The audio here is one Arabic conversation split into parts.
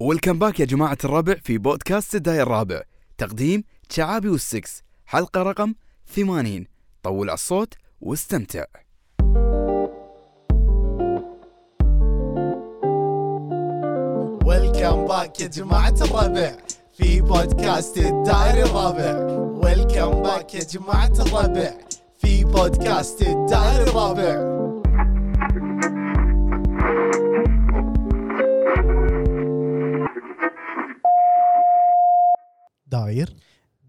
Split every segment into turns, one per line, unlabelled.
ويلكم باك يا جماعة الربع في بودكاست الداير الرابع تقديم شعابي والسكس حلقة رقم 80 طول على الصوت واستمتع
ويلكم باك يا جماعة الربع في بودكاست الدائري الرابع ويلكم باك يا جماعة الربع في بودكاست الدائري الرابع داير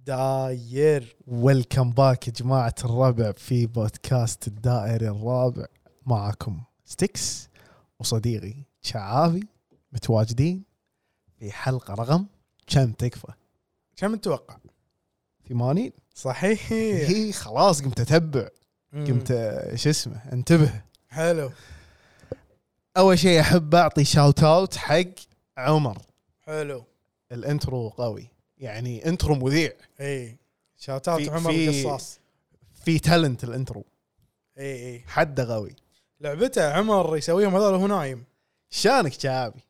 داير ويلكم باك يا جماعة الربع في بودكاست الدائري الرابع معكم ستيكس وصديقي شعابي متواجدين في حلقة رقم كم تكفى؟
كم تتوقع؟
80
صحيح
هي إيه، خلاص قمت اتبع قمت
مم.
آه، شو اسمه انتبه
حلو
اول شيء احب اعطي شاوت اوت حق عمر
حلو
الانترو قوي يعني انترو مذيع
اي شاوت اوت
في-
عمر
في-
القصاص
في تالنت الانترو
اي اي
حده قوي
لعبته عمر يسويهم هذول وهو نايم
شانك شعبي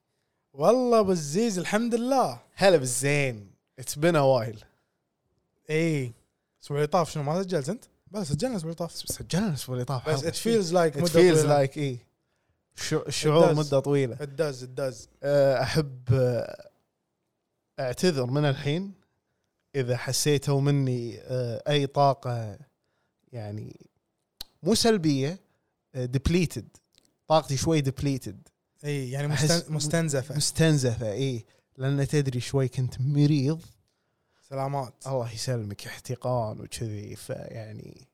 والله ابو الزيز الحمد لله
هلا بالزين اتس بين وايل
اي الاسبوع اللي طاف شنو ما سجلت انت؟ بس سجلنا الاسبوع اللي طاف
سجلنا الاسبوع اللي طاف
بس ات فيلز لايك
ات فيلز لايك اي الشعور
It does.
مده طويله
ات داز ات داز
أه، احب أه، اعتذر من الحين اذا حسيتوا مني أه، اي طاقه يعني مو سلبيه ديبليتد طاقتي شوي ديبليتد
اي يعني
أحس-
مستن- مستنزفه
مستنزفه اي لان تدري شوي كنت مريض
سلامات
الله يسلمك احتقان وكذي فيعني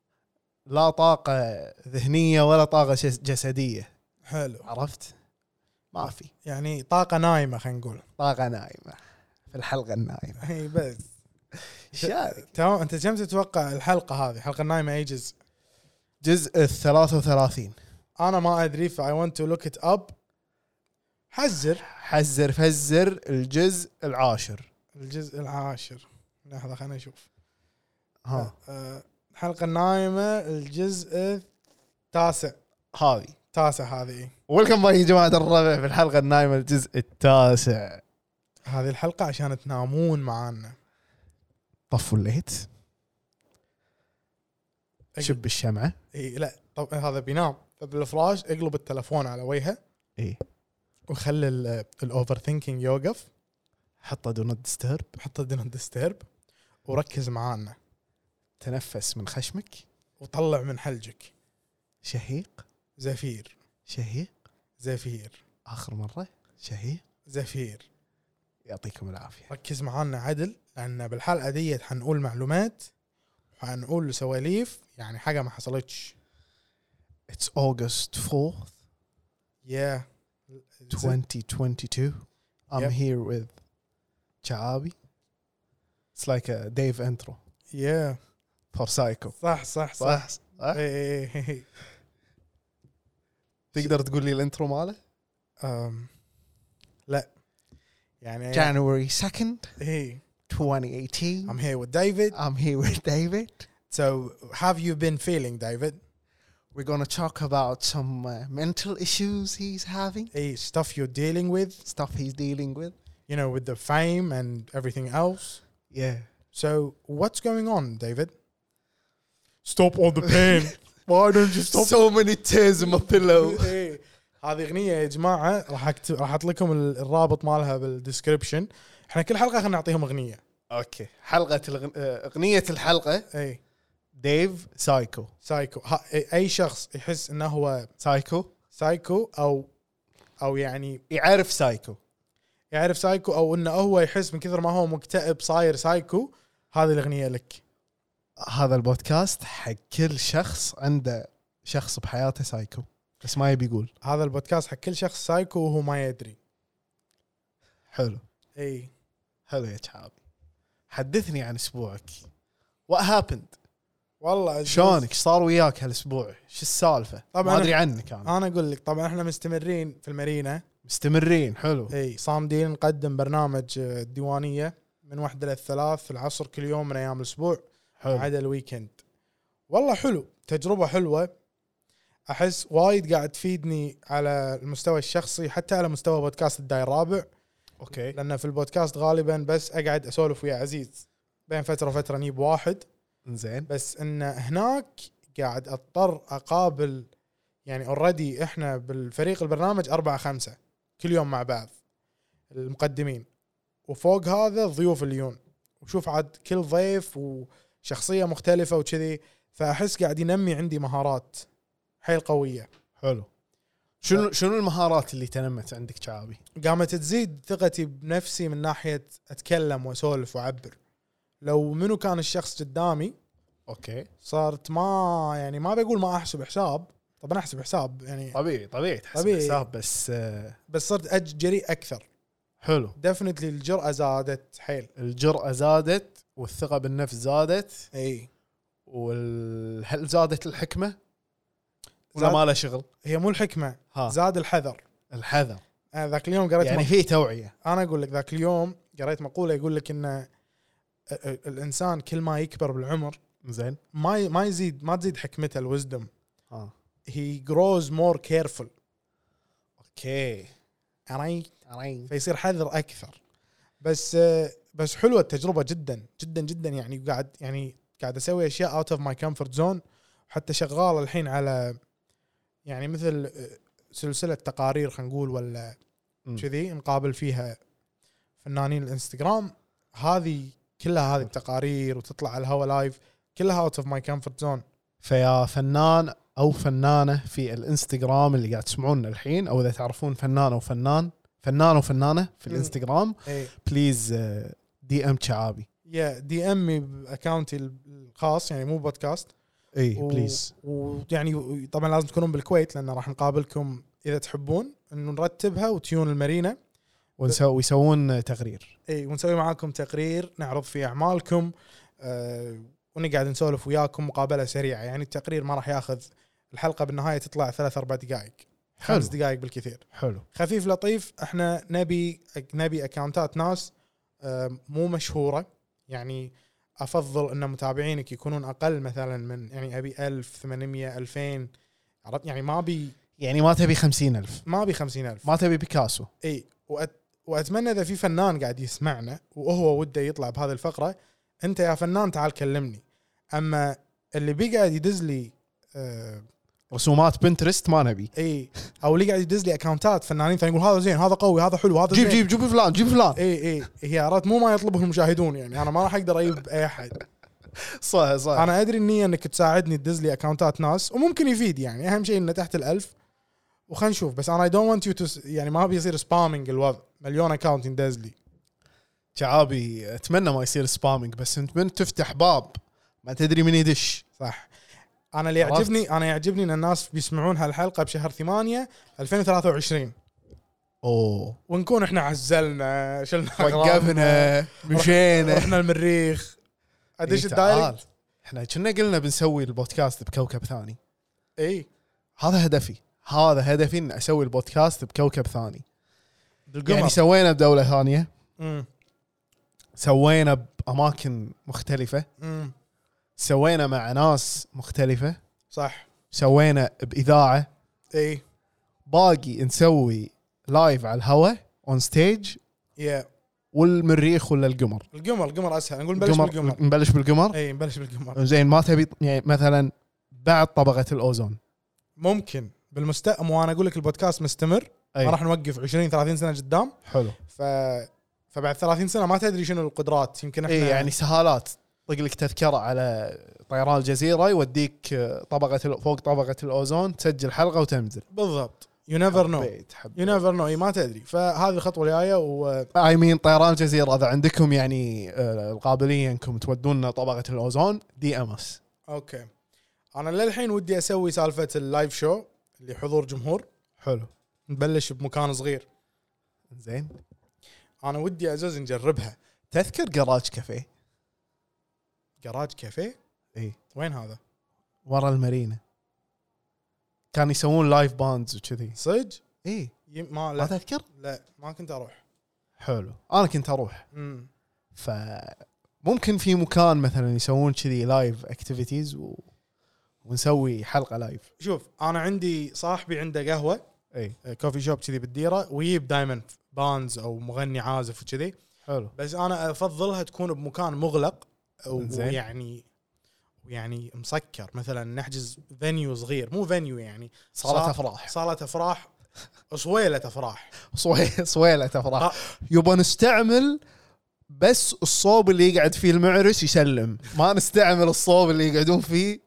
لا طاقه ذهنيه ولا طاقه جس- جسديه
حلو
عرفت ما في
يعني طاقه نايمه خلينا نقول
طاقه نايمه في الحلقه النايمه
اي بس
شارك
تمام انت كم تتوقع الحلقه هذه الحلقه النايمه اي جزء؟
جزء ال 33
انا ما ادري فاي ونت تو لوك ات اب حزر
حزر فزر الجزء العاشر
الجزء العاشر لحظه خلينا نشوف
ها
أه، الحلقه النايمه الجزء التاسع
هذه
تاسع هذه
ولكم باك يا جماعه الربع في الحلقه النايمه الجزء التاسع
هذه الحلقه عشان تنامون معانا
طفوا الليت شب الشمعه
اي لا طب هذا بينام فبالفراش اقلب التلفون على وجهه
اي
وخلي الاوفر ثينكينج يوقف
حطه دو نوت ديسترب
حطه دون ديسترب وركز معانا
تنفس من خشمك
وطلع من حلجك
شهيق
زفير
شهيق
زفير
اخر مره شهيق
زفير
يعطيكم العافيه
ركز معانا عدل لان بالحلقه ديت حنقول معلومات وحنقول سواليف يعني حاجه ما حصلتش
اتس اوغست 4
يا
2022 I'm
Yep.
here with Chabi it's like a Dave intro
يا
for Psycho
صح صح إيه، صح,
صح
صح. إي إي إي.
تقدر تقول لي الانترو ماله؟
أم، لا يعني
January 2nd
hey,
2018
I'm here with David
I'm here with David
so have you been feeling David
we're gonna talk about some uh, mental issues he's having
hey, stuff you're dealing with
stuff he's dealing with
you know with the fame and everything else
yeah
so what's going on David stop all the pain why don't you stop
so many tears in my pillow
إيه. هذه اغنيه يا جماعه راح أكت- راح احط لكم ال- الرابط مالها بالدسكربشن احنا كل حلقه خلينا نعطيهم اغنيه
اوكي حلقة الغن- آه، اغنية الحلقة
اي
ديف سايكو
إيه، سايكو ها إي- اي شخص يحس انه هو
سايكو
سايكو او او يعني
يعرف سايكو
يعرف سايكو او انه هو يحس من كثر ما هو مكتئب صاير سايكو هذه الاغنيه لك
هذا البودكاست حق كل شخص عنده شخص بحياته سايكو بس ما يبي يقول
هذا البودكاست حق كل شخص سايكو وهو ما يدري إيه.
حلو
اي
حلو يا شعبي حدثني عن اسبوعك وات هابند
والله أجوز.
شلونك إيش صار وياك هالاسبوع شو السالفه
طبعاً آه.
ما ادري عنك انا
انا اقول لك طبعا احنا مستمرين في المارينا
مستمرين حلو
اي صامدين نقدم برنامج آه، الديوانيه من واحدة للثلاث العصر كل يوم من ايام الاسبوع ما
حلو
عدا الويكند والله حلو تجربه حلوه احس وايد قاعد تفيدني على المستوى الشخصي حتى على مستوى بودكاست الداي الرابع
اوكي
لان في البودكاست غالبا بس اقعد اسولف ويا عزيز بين فتره وفتره نجيب واحد
زين
بس ان هناك قاعد اضطر اقابل يعني اوريدي احنا بالفريق البرنامج أربعة خمسة كل يوم مع بعض المقدمين وفوق هذا الضيوف اليون وشوف عاد كل ضيف وشخصية مختلفة وكذي فأحس قاعد ينمي عندي مهارات حيل قوية
حلو شنو شنو المهارات اللي تنمت عندك شعابي؟
قامت تزيد ثقتي بنفسي من ناحية أتكلم وأسولف وأعبر لو منو كان الشخص قدامي
اوكي
صارت ما يعني ما بقول ما احسب حساب طبعا احسب حساب يعني
طبيعي طبيعي تحسب
طبيعي.
حساب بس آه،
بس صرت أج- جريء اكثر
حلو
دفنتلي الجرأه زادت حيل
الجرأة زادت والثقة بالنفس زادت
اي
وال... هل زادت الحكمة؟ ولا
زاد-
ما له شغل؟
هي مو الحكمه
ها
زاد الحذر
الحذر
أنا ذاك اليوم قريت
يعني
يعني
في توعية
انا اقول لك ذاك اليوم قريت مقوله يقول لك ان ال- ال- الانسان كل ما يكبر بالعمر
زين
ما ي- ما يزيد ما تزيد حكمته الوزدم
ها
هي جروز مور كيرفول
اوكي
عرفت
عرين.
فيصير حذر اكثر بس آه، بس حلوه التجربه جدا جدا جدا يعني قاعد يعني قاعد اسوي اشياء اوت اوف ماي كومفورت زون حتى شغال الحين على يعني مثل آه، سلسله تقارير خلينا نقول ولا
مم.
كذي نقابل فيها فنانين الانستغرام هذه كلها هذه التقارير وتطلع على الهوا لايف كلها اوت اوف ماي كومفورت زون
فيا فنان او فنانه في الانستغرام اللي قاعد تسمعونا الحين او اذا تعرفون فنان او فنان فنان وفنانه في
مم.
الانستغرام بليز آه، دي ام شعابي
يا دي امي باكونتي الخاص يعني مو بودكاست
اي
و-
بليز
ويعني طبعا لازم تكونون بالكويت لان راح نقابلكم اذا تحبون انه نرتبها وتيون المارينا
ونسوي ويسوون تقرير
اي ونسوي معاكم تقرير نعرض فيه اعمالكم آه ونقعد نسولف وياكم مقابله سريعه يعني التقرير ما راح ياخذ الحلقه بالنهايه تطلع ثلاث اربع دقائق
حلو
خمس دقائق بالكثير
حلو
خفيف لطيف احنا نبي نبي اكونتات ناس آه، مو مشهوره يعني افضل ان متابعينك يكونون اقل مثلا من يعني ابي 1800 2000 عرفت يعني ما ابي
يعني ما تبي خمسين ألف
ما ابي 50000
ما تبي بيكاسو
اي وأت واتمنى اذا في فنان قاعد يسمعنا وهو وده يطلع بهذه الفقره انت يا فنان تعال كلمني اما اللي بيقعد يدز لي آه،
رسومات بنترست ما نبي
اي او اللي قاعد يدز لي اكونتات فنانين ثاني يقول هذا زين هذا قوي هذا حلو هذا
جيب
زين.
جيب جيب فلان جيب فلان
اي اي هي عرفت مو ما يطلبه المشاهدون يعني انا ما راح اقدر اجيب اي احد
صح صح
انا ادري النيه انك تساعدني تدز لي اكونتات ناس وممكن يفيد يعني اهم شيء انه تحت الألف وخلينا نشوف بس انا اي دونت ونت يو تو يعني ما بيصير سبامنج الوضع مليون اكونت يندز لي
شعابي اتمنى ما يصير سبامينج بس انت من تفتح باب ما تدري من يدش
صح انا اللي
عرفت.
يعجبني انا يعجبني ان الناس بيسمعون هالحلقه بشهر 8 2023
اوه
ونكون احنا عزلنا شلنا أغراضنا،
وقفنا مشينا
رحنا المريخ ادش
إيه، تعال.
الدايركت
احنا كنا قلنا بنسوي البودكاست بكوكب ثاني
اي
هذا هدفي هذا هدفي ان اسوي البودكاست بكوكب ثاني يعني
بالقمر
سوينا بدوله ثانيه
امم
سوينا باماكن مختلفه
امم
سوينا مع ناس مختلفه
صح
سوينا باذاعه
اي
باقي نسوي لايف على الهواء اون ستيج
يا
والمريخ ولا القمر
القمر القمر اسهل نقول نبلش بالقمر إيه.
نبلش بالقمر
اي نبلش بالقمر
زين ما تبي يعني مثلا بعد طبقه الاوزون
ممكن بالمستقبل وانا اقول لك البودكاست مستمر
أي.
ما راح نوقف 20 30 سنه قدام
حلو
ف فبعد 30 سنه ما تدري شنو القدرات يمكن احنا
اي يعني سهالات طق لك تذكره على طيران الجزيره يوديك آه، طبقه ال- فوق طبقه الاوزون تسجل حلقه وتنزل
بالضبط يو نيفر نو
حبيت
يو
حبيت
نيفر نو اي إيه، ما تدري فهذه الخطوه الجايه و
اي مين طيران الجزيره اذا عندكم يعني آه، القابليه انكم تودونا طبقه الاوزون دي ام اس
اوكي انا للحين ودي اسوي سالفه اللايف شو اللي حضور جمهور
حلو
نبلش بمكان صغير
زين
انا ودي ازوز نجربها
تذكر جراج كافيه
جراج كافيه
اي
وين هذا
ورا المارينا كان يسوون لايف باندز وكذي إيه.
صدق
اي
يم- ما
ما
لا
تذكر
لا ما كنت اروح
حلو انا كنت اروح
امم
ف ممكن في مكان مثلا يسوون كذي لايف اكتيفيتيز و... ونسوي حلقه لايف
شوف انا عندي صاحبي عنده قهوه
اي
آه، كوفي شوب كذي بالديره ويجيب دائما بانز او مغني عازف وكذي
حلو
بس انا افضلها تكون بمكان مغلق و-
زين.
ويعني ويعني مسكر مثلا نحجز فينيو صغير مو فينيو يعني
صارت افراح
صالة افراح صويلة افراح
صوي- صويلة افراح
آه.
يبا نستعمل بس الصوب اللي يقعد فيه المعرس يسلم ما نستعمل الصوب اللي يقعدون فيه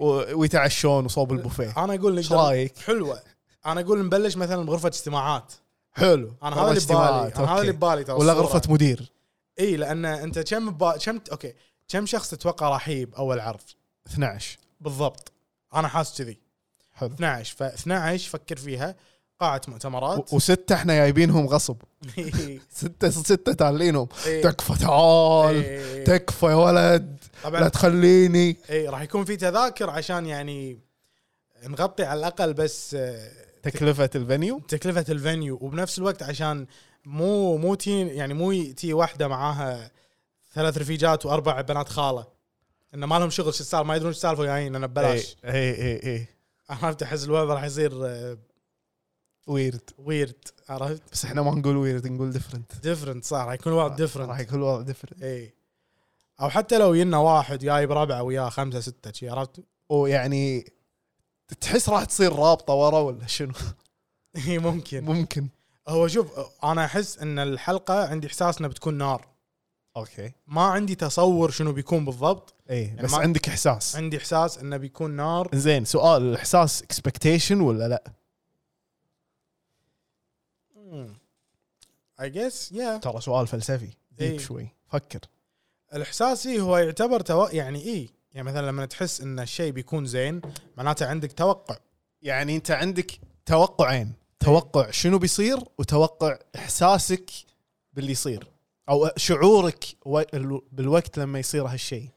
و- ويتعشون وصوب البوفيه
انا اقول
ايش
نقدر-
رايك؟
حلوه انا اقول نبلش مثلا بغرفة اجتماعات
حلو
انا هذا اللي ببالي
اجتماعات،
انا هذا
أوكي.
اللي ببالي ترى
ولا
الصورة.
غرفة مدير
اي لان انت كم با... كم اوكي كم شخص تتوقع راح يجيب اول عرض
12
بالضبط انا حاسس كذي
حلو
12 ف 12 فكر فيها قاعه مؤتمرات إيه.
و- وستة احنا جايبينهم غصب
إي،
ستة ستة تالينهم
إي.
تكفى تعال
إي.
تكفى يا ولد لا
طبعا
تخليني
اي إيه. راح يكون في تذاكر عشان يعني نغطي على الاقل بس آه،
تكلفة الفنيو
تكلفه الفنيو وبنفس الوقت عشان مو مو تي يعني مو تي واحده معاها ثلاث رفيجات واربع بنات خاله انه ما لهم شغل شو السالفه ما يدرون شو السالفه جايين انا ببلاش
اي اي اي
عرفت احس الوضع راح يصير آه،
ويرد
ويرد عرفت
بس احنا ما نقول ويرد نقول ديفرنت
ديفرنت صح راح يكون وضع ديفرنت
راح يكون الوضع ديفرنت
اي او إيه. حتى لو يلنا واحد جايب ربعه وياه خمسه سته شي عرفت؟
ويعني يعني تحس راح تصير رابطه ورا ولا شنو
اي إيه، ممكن
ممكن
هو شوف انا احس ان الحلقه عندي احساس انها بتكون نار
اوكي
ما عندي تصور شنو بيكون بالضبط
اي بس
ما-
عندك احساس
عندي احساس انه بيكون نار
زين سؤال الاحساس اكسبكتيشن ولا لا
اي جس يا
ترى سؤال فلسفي
إي.
ديب شوي فكر
الاحساس إيه هو يعتبر تو... يعني اي يعني مثلا لما تحس ان الشيء بيكون زين معناته عندك توقع
يعني انت عندك توقعين توقع شنو بيصير وتوقع احساسك باللي يصير او شعورك و- الو- بالوقت لما يصير هالشيء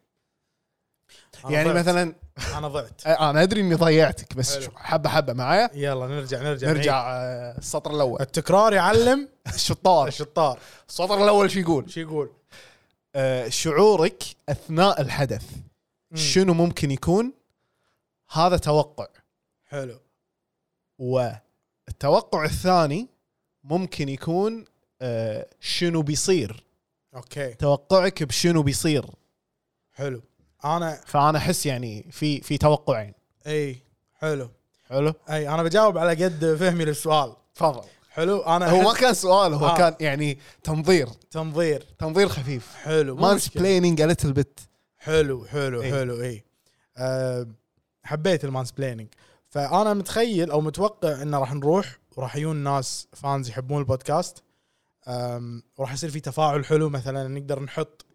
أنا
يعني
ضعت.
مثلا
انا ضعت
انا ادري اني ضيعتك بس
حلو.
حبه حبه معايا
يلا نرجع نرجع
نرجع آه، السطر الاول
التكرار يعلم
الشطار
الشطار
السطر الاول شو يقول
شو يقول؟
آه، شعورك اثناء الحدث شنو ممكن يكون هذا توقع
حلو
والتوقع الثاني ممكن يكون آه، شنو بيصير
اوكي
توقعك بشنو بيصير
حلو انا
فانا احس يعني في في توقعين
اي حلو
حلو
اي انا بجاوب على قد فهمي للسؤال
تفضل
حلو انا
هو ما
أحس
كان سؤال هو
آه.
آه. كان يعني تنظير
تنظير
تنظير خفيف
حلو مو
مانس
مشكلة.
بليننج a little bit
حلو حلو
إي.
حلو اي أه حبيت المانس بليننج فانا متخيل او متوقع انه راح نروح وراح يجون ناس فانز يحبون البودكاست أم، وراح يصير في تفاعل حلو مثلا نقدر نحط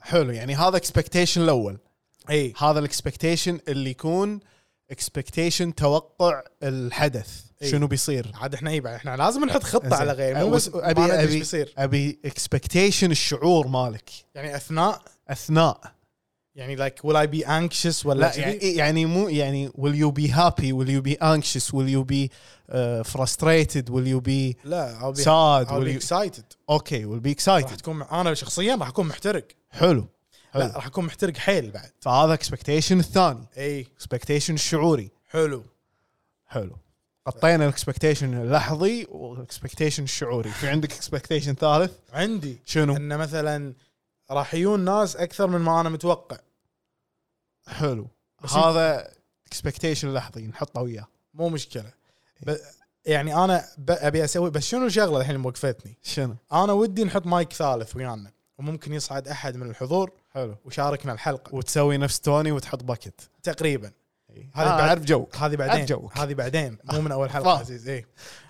حلو يعني هذا اكسبكتيشن الاول
اي
هذا الاكسبكتيشن اللي يكون اكسبكتيشن توقع الحدث
إي.
شنو بيصير
عاد احنا اي بعد احنا لازم نحط خطه
زين.
على غير مو
أه،
بس
وس- ابي
ما ندري إيش
ابي
بيصير
ابي اكسبكتيشن الشعور مالك
يعني اثناء
اثناء
يعني لايك ويل اي بي انكشس ولا
لا
شذي؟
يعني يعني مو يعني will you be happy will you be anxious will you be uh, frustrated will you be
لا I'll be
sad
I'll
will
be
you
excited
okay will be
راح
excited
تكون انا شخصيا راح اكون محترق
حلو حلو
لا راح اكون محترق حيل بعد
فهذا اكسبكتيشن الثاني
اي
اكسبكتيشن الشعوري
حلو
حلو غطينا الاكسبكتيشن اللحظي والاكسبكتيشن الشعوري في عندك اكسبكتيشن ثالث
عندي
شنو
ان مثلا راح يجون ناس اكثر من ما انا متوقع
حلو
بس-
هذا اكسبكتيشن لحظي نحطه وياه
مو مشكله ب... يعني انا ب... ابي اسوي بس شنو الشغله الحين اللي موقفتني
شنو
انا ودي نحط مايك ثالث ويانا وممكن يصعد احد من الحضور
حلو
وشاركنا الحلقه
وتسوي نفس توني وتحط باكت
تقريبا
هذا
بعد-
آه اعرف جو
هذه
عاد
بعدين
جوك.
هذه بعدين مو من اول حلقه
فاهم.
عزيز اي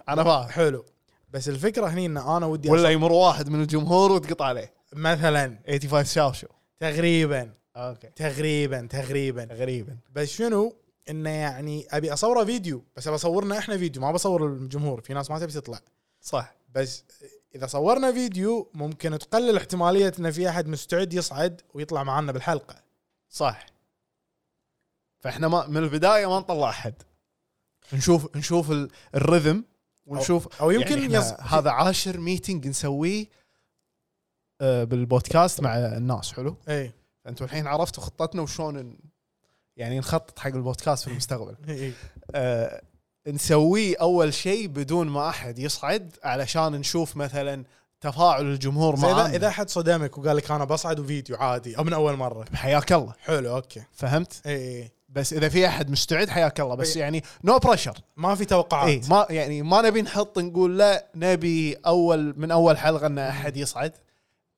انا فاهم
حلو بس الفكره هني ان انا ودي
ولا يمر واحد من الجمهور وتقطع عليه
أص- مثلا
85 شاوشو
تقريبا
اوكي
تقريبا تقريبا
غريبا
بس شنو انه يعني ابي اصوره فيديو بس ابي اصورنا احنا فيديو ما بصور الجمهور في ناس ما تبي تطلع
صح
بس اذا صورنا فيديو ممكن تقلل احتماليه ان في احد مستعد يصعد ويطلع معنا بالحلقه
صح فاحنا ما من البدايه ما نطلع احد نشوف نشوف ال- الرhythm ونشوف
أو يمكن
يعني
يص-
يص... هذا عاشر ميتنج نسويه آه، بالبودكاست مع الناس حلو
اي
انتم الحين عرفتوا
إيه،
خطتنا وشون ن- يعني نخطط حق البودكاست في المستقبل
اي
آه، نسويه اول شيء بدون ما احد يصعد علشان نشوف مثلا تفاعل الجمهور
زين
معاه
اذا اذا احد صدمك وقال لك انا بصعد وفيديو عادي او من اول مره
حياك الله
حلو إيه، اوكي
فهمت
اي إي.
بس اذا في احد مستعد حياك الله بس
إي.
يعني نو بريشر
ما في توقعات
اي ما يعني ما نبي نحط نقول لا نبي اول من اول حلقه ان احد يصعد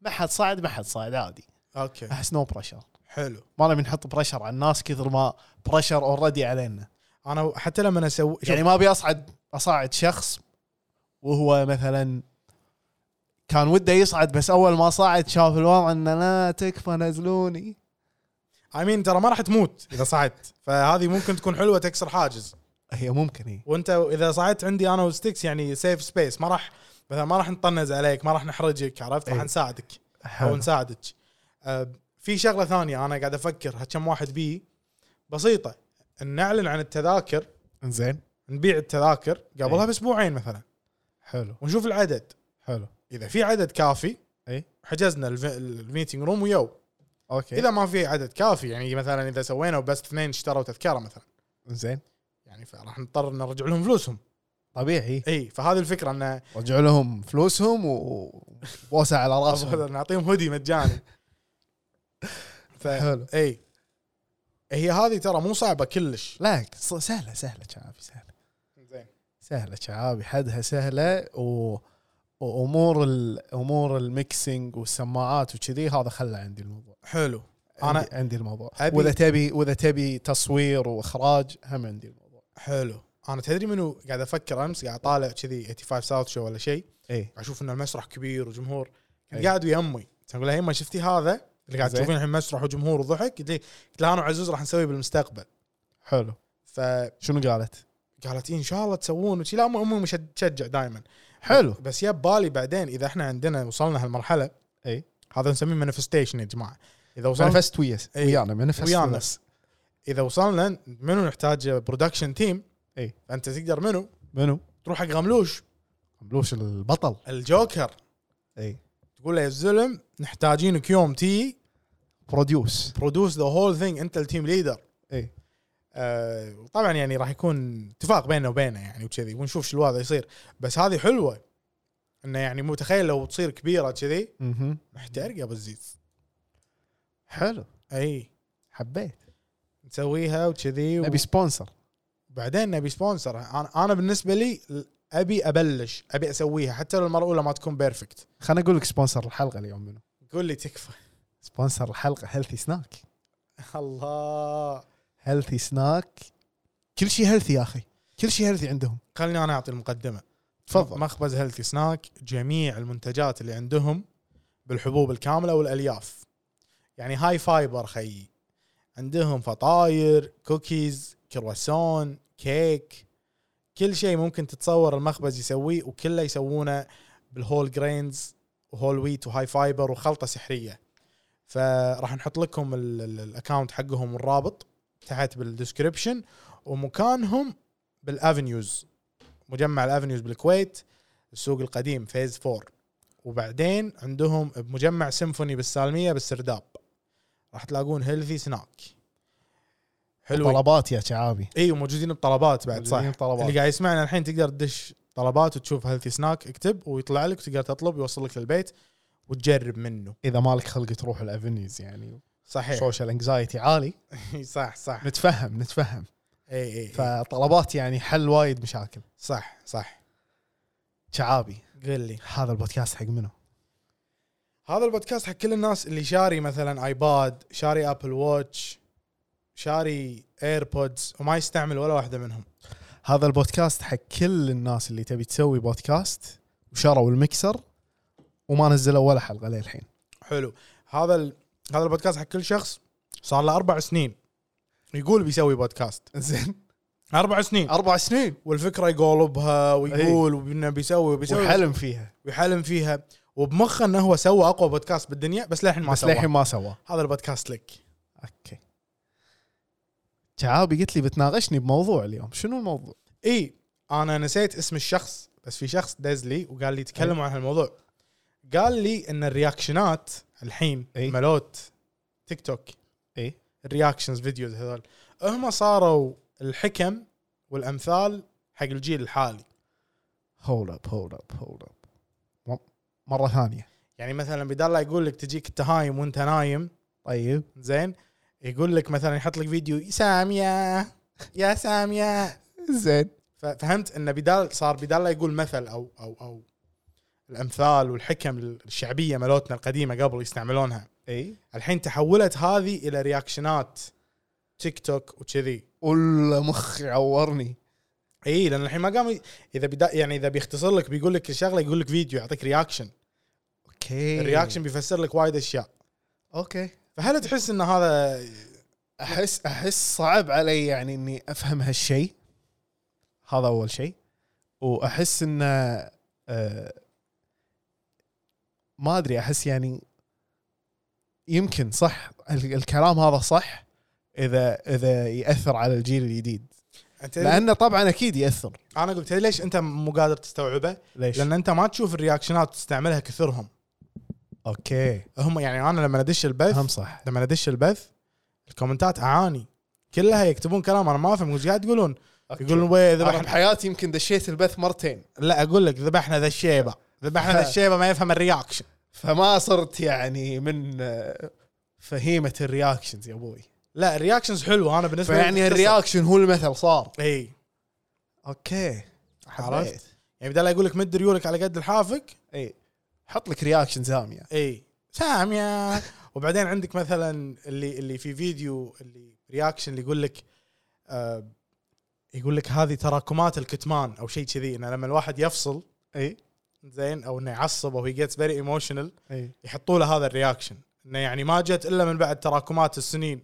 ما حد صعد ما حد صعد عادي
اوكي
احس نو بريشر
حلو
ما نبي نحط بريشر على الناس كثر ما بريشر اوريدي علينا
انا حتى لما اسوي
يعني ما ابي اصعد اصعد شخص وهو مثلا كان وده يصعد بس اول ما صعد شاف الوضع انه لا تكفى نزلوني
اي مين ترى ما راح تموت اذا صعدت فهذه ممكن تكون حلوه تكسر حاجز
هي ممكن هي
وانت اذا صعدت عندي انا وستكس يعني سيف سبيس ما راح مثلا ما راح نطنز عليك ما راح نحرجك عرفت راح
إي.
نساعدك او نساعدك أه، في شغله ثانيه انا قاعد افكر كم واحد بي بسيطه ان نعلن عن التذاكر
زين
نبيع التذاكر قبلها
إي.
باسبوعين مثلا
حلو
ونشوف العدد
حلو
اذا في عدد كافي
إي.
حجزنا الف- الميتنج روم ويو
اوكي
اذا ما في عدد كافي يعني مثلا اذا سوينا وبس اثنين اشتروا تذكره مثلا
زين
يعني فراح نضطر نرجع لهم فلوسهم
طبيعي
اي فهذه الفكره ان
رجعوا لهم فلوسهم وبوسه على راسهم
نعطيهم هودي مجاني ف...
حلو
اي هي هذه ترى مو صعبه كلش
لا ص- سهله سهله شعابي سهله
زين
سهله شعابي حدها سهله و... وامور ال... امور الميكسينج والسماعات وكذي هذا خلى عندي الموضوع
حلو
انا
انا
عندي, عندي الموضوع
أبي-
واذا تبي واذا تبي تصوير واخراج هم عندي الموضوع
حلو انا تدري منو قاعد افكر امس قاعد طالع كذي 85 ساوث شو ولا شيء
اي
اشوف ان المسرح كبير وجمهور كنت
أي.
قاعد ويا امي اقول لها يما شفتي هذا اللي قاعد
زين.
تشوفين الحين مسرح وجمهور وضحك قلت لي- قلت لها انا وعزوز راح نسويه بالمستقبل
حلو
فقالت
شنو قالت؟
إيه ان شاء الله تسوون وشي لا امي امي مش تشجع دائما
حلو
بس يا ببالي بعدين اذا احنا عندنا وصلنا هالمرحله
أي.
هذا نسميه مانيفستيشن يا جماعه اذا وصلنا
منفست ويا
إي.
ويانا منفست
إيه. ويانا. اذا وصلنا منو نحتاج برودكشن تيم
أي.
انت تقدر منو
منو؟
تروح حق غملوش
مبلوش البطل
الجوكر
اي
تقول له يا الزلم نحتاجينك يوم تي
بروديوس
برودوس ذا هول ثينج انت التيم ليدر
اي
آه طبعا يعني راح يكون اتفاق بيننا وبينه يعني وكذي ونشوف شو الوضع يصير بس هذه حلوه انه يعني مو تخيل لو تصير كبيره كذي
مهم.
محترقه بالزيز
حلو
اي
حبيت
نسويها وكذي و...
نبي سبونسر
بعدين نبي سبونسر انا انا بالنسبه لي ابي ابلش ابي اسويها حتى لو المره الاولى ما تكون بيرفكت
خليني اقول لك سبونسر الحلقه اليوم منو
قول لي تكفى
سبونسر الحلقه هيلثي سناك
الله
هيلثي سناك كل شيء هيلثي يا اخي كل شيء هيلثي عندهم
خليني انا اعطي المقدمه
تفضل.
مخبز هيلثي سناك جميع المنتجات اللي عندهم بالحبوب الكامله والالياف يعني هاي فايبر خيي عندهم فطاير كوكيز كرواسون كيك كل شيء ممكن تتصور المخبز يسويه وكله يسوونه بالهول جرينز وهول ويت وهاي فايبر وخلطه سحريه فراح نحط لكم ال- ال- الاكونت حقهم والرابط تحت بالدسكربشن ومكانهم بالافنيوز مجمع الافنيوز بالكويت السوق القديم فيز 4 وبعدين عندهم بمجمع سيمفوني بالسالميه بالسرداب راح تلاقون هيلثي سناك حلو
طلبات يا شعابي
اي وموجودين بطلبات بعد صح
موجودين بطلبات.
اللي قاعد يسمعنا الحين تقدر تدش طلبات وتشوف هيلثي سناك اكتب ويطلع لك وتقدر تطلب يوصل لك للبيت وتجرب منه
اذا مالك خلق تروح الافنيوز يعني
صحيح
سوشيال انكزايتي عالي
صح صح
نتفهم نتفهم
اي اي إي.
فطلبات يعني حل وايد مشاكل
صح صح
شعابي
قل لي
هذا البودكاست حق منو
هذا البودكاست حق كل الناس اللي شاري مثلا ايباد شاري ابل واتش شاري ايربودز وما يستعمل ولا واحده منهم
هذا البودكاست حق كل الناس اللي تبي تسوي بودكاست وشروا المكسر وما نزلوا ولا حلقه للحين
حلو هذا ال... هذا البودكاست حق كل شخص صار له اربع سنين يقول بيسوي بودكاست
زين
اربع سنين
اربع سنين
والفكره يقولبها ويقول
إيه.
وانه بيسوي وبيسوي
وحلم فيها
ويحلم فيها وبمخه انه هو سوى اقوى بودكاست بالدنيا بس للحين ما
بس
سوى
للحين ما سواه
هذا البودكاست لك
اوكي شعابي قلت لي بتناقشني بموضوع اليوم شنو الموضوع
اي انا نسيت اسم الشخص بس في شخص دز لي وقال لي تكلموا عن هالموضوع قال لي ان الرياكشنات الحين
إي.
ملوت تيك توك
إي.
الرياكشنز فيديوز هذول هم صاروا الحكم والامثال حق الجيل الحالي
هولد اب هولد اب هولد اب مره ثانيه
يعني مثلا بدال لا يقول لك تجيك التهايم وانت نايم
طيب
زين يقول لك مثلا يحط لك فيديو ساميه يا ساميه
زين
ف- فهمت انه بدال صار بدال لا يقول مثل او او او الامثال والحكم الشعبيه مالتنا القديمه قبل يستعملونها
اي
الحين تحولت هذه الى رياكشنات تيك توك وكذي
والمخ عورني
اي لان الحين ما قام ي- اذا بدا يعني اذا بيختصر لك بيقول لك الشغله يقول لك فيديو يعطيك رياكشن
اوكي
الرياكشن بيفسر لك وايد اشياء
اوكي
فهل تحس ان هذا
احس احس صعب علي يعني اني افهم هالشيء هذا اول شيء واحس انه آه، ما ادري احس يعني يمكن صح ال- الكلام هذا صح اذا اذا ياثر على الجيل الجديد
انت
لانه طبعا اكيد ياثر
انا قلت تدري ليش انت مو قادر تستوعبه؟
ليش؟
لان انت ما تشوف الرياكشنات تستعملها كثرهم
اوكي
هم يعني انا لما ادش البث
هم صح
لما ادش البث الكومنتات اعاني كلها يكتبون كلام انا ما افهم وش قاعد تقولون يقولون وي
انا
ذبحنا
بحياتي يمكن دشيت البث مرتين
لا اقول لك ذبحنا ذا الشيبه ذبحنا ذا الشيبه ما يفهم الرياكشن
فما صرت يعني من آه، فهيمه الرياكشنز يا ابوي
لا الرياكشنز حلوه انا بالنسبه لي
فيعني
قصة. إيه.
الرياكشن هو المثل صار
اي
اوكي
عرفت؟
عرفت
يعني بدل يقول لك مد ريولك على قد لحافك
اي حط لك يعني. رياكشن زاميه
اي ساميه إيه. وبعدين عندك مثلا اللي اللي في فيديو اللي رياكشن اللي يقول لك آه يقول لك هذه تراكمات الكتمان او شيء كذي انه لما الواحد يفصل إيه،
اي
زين او انه يعصب او هي جيتس فيري ايموشنال
اي
يحطوا له هذا الرياكشن انه يعني ما جت الا من بعد تراكمات السنين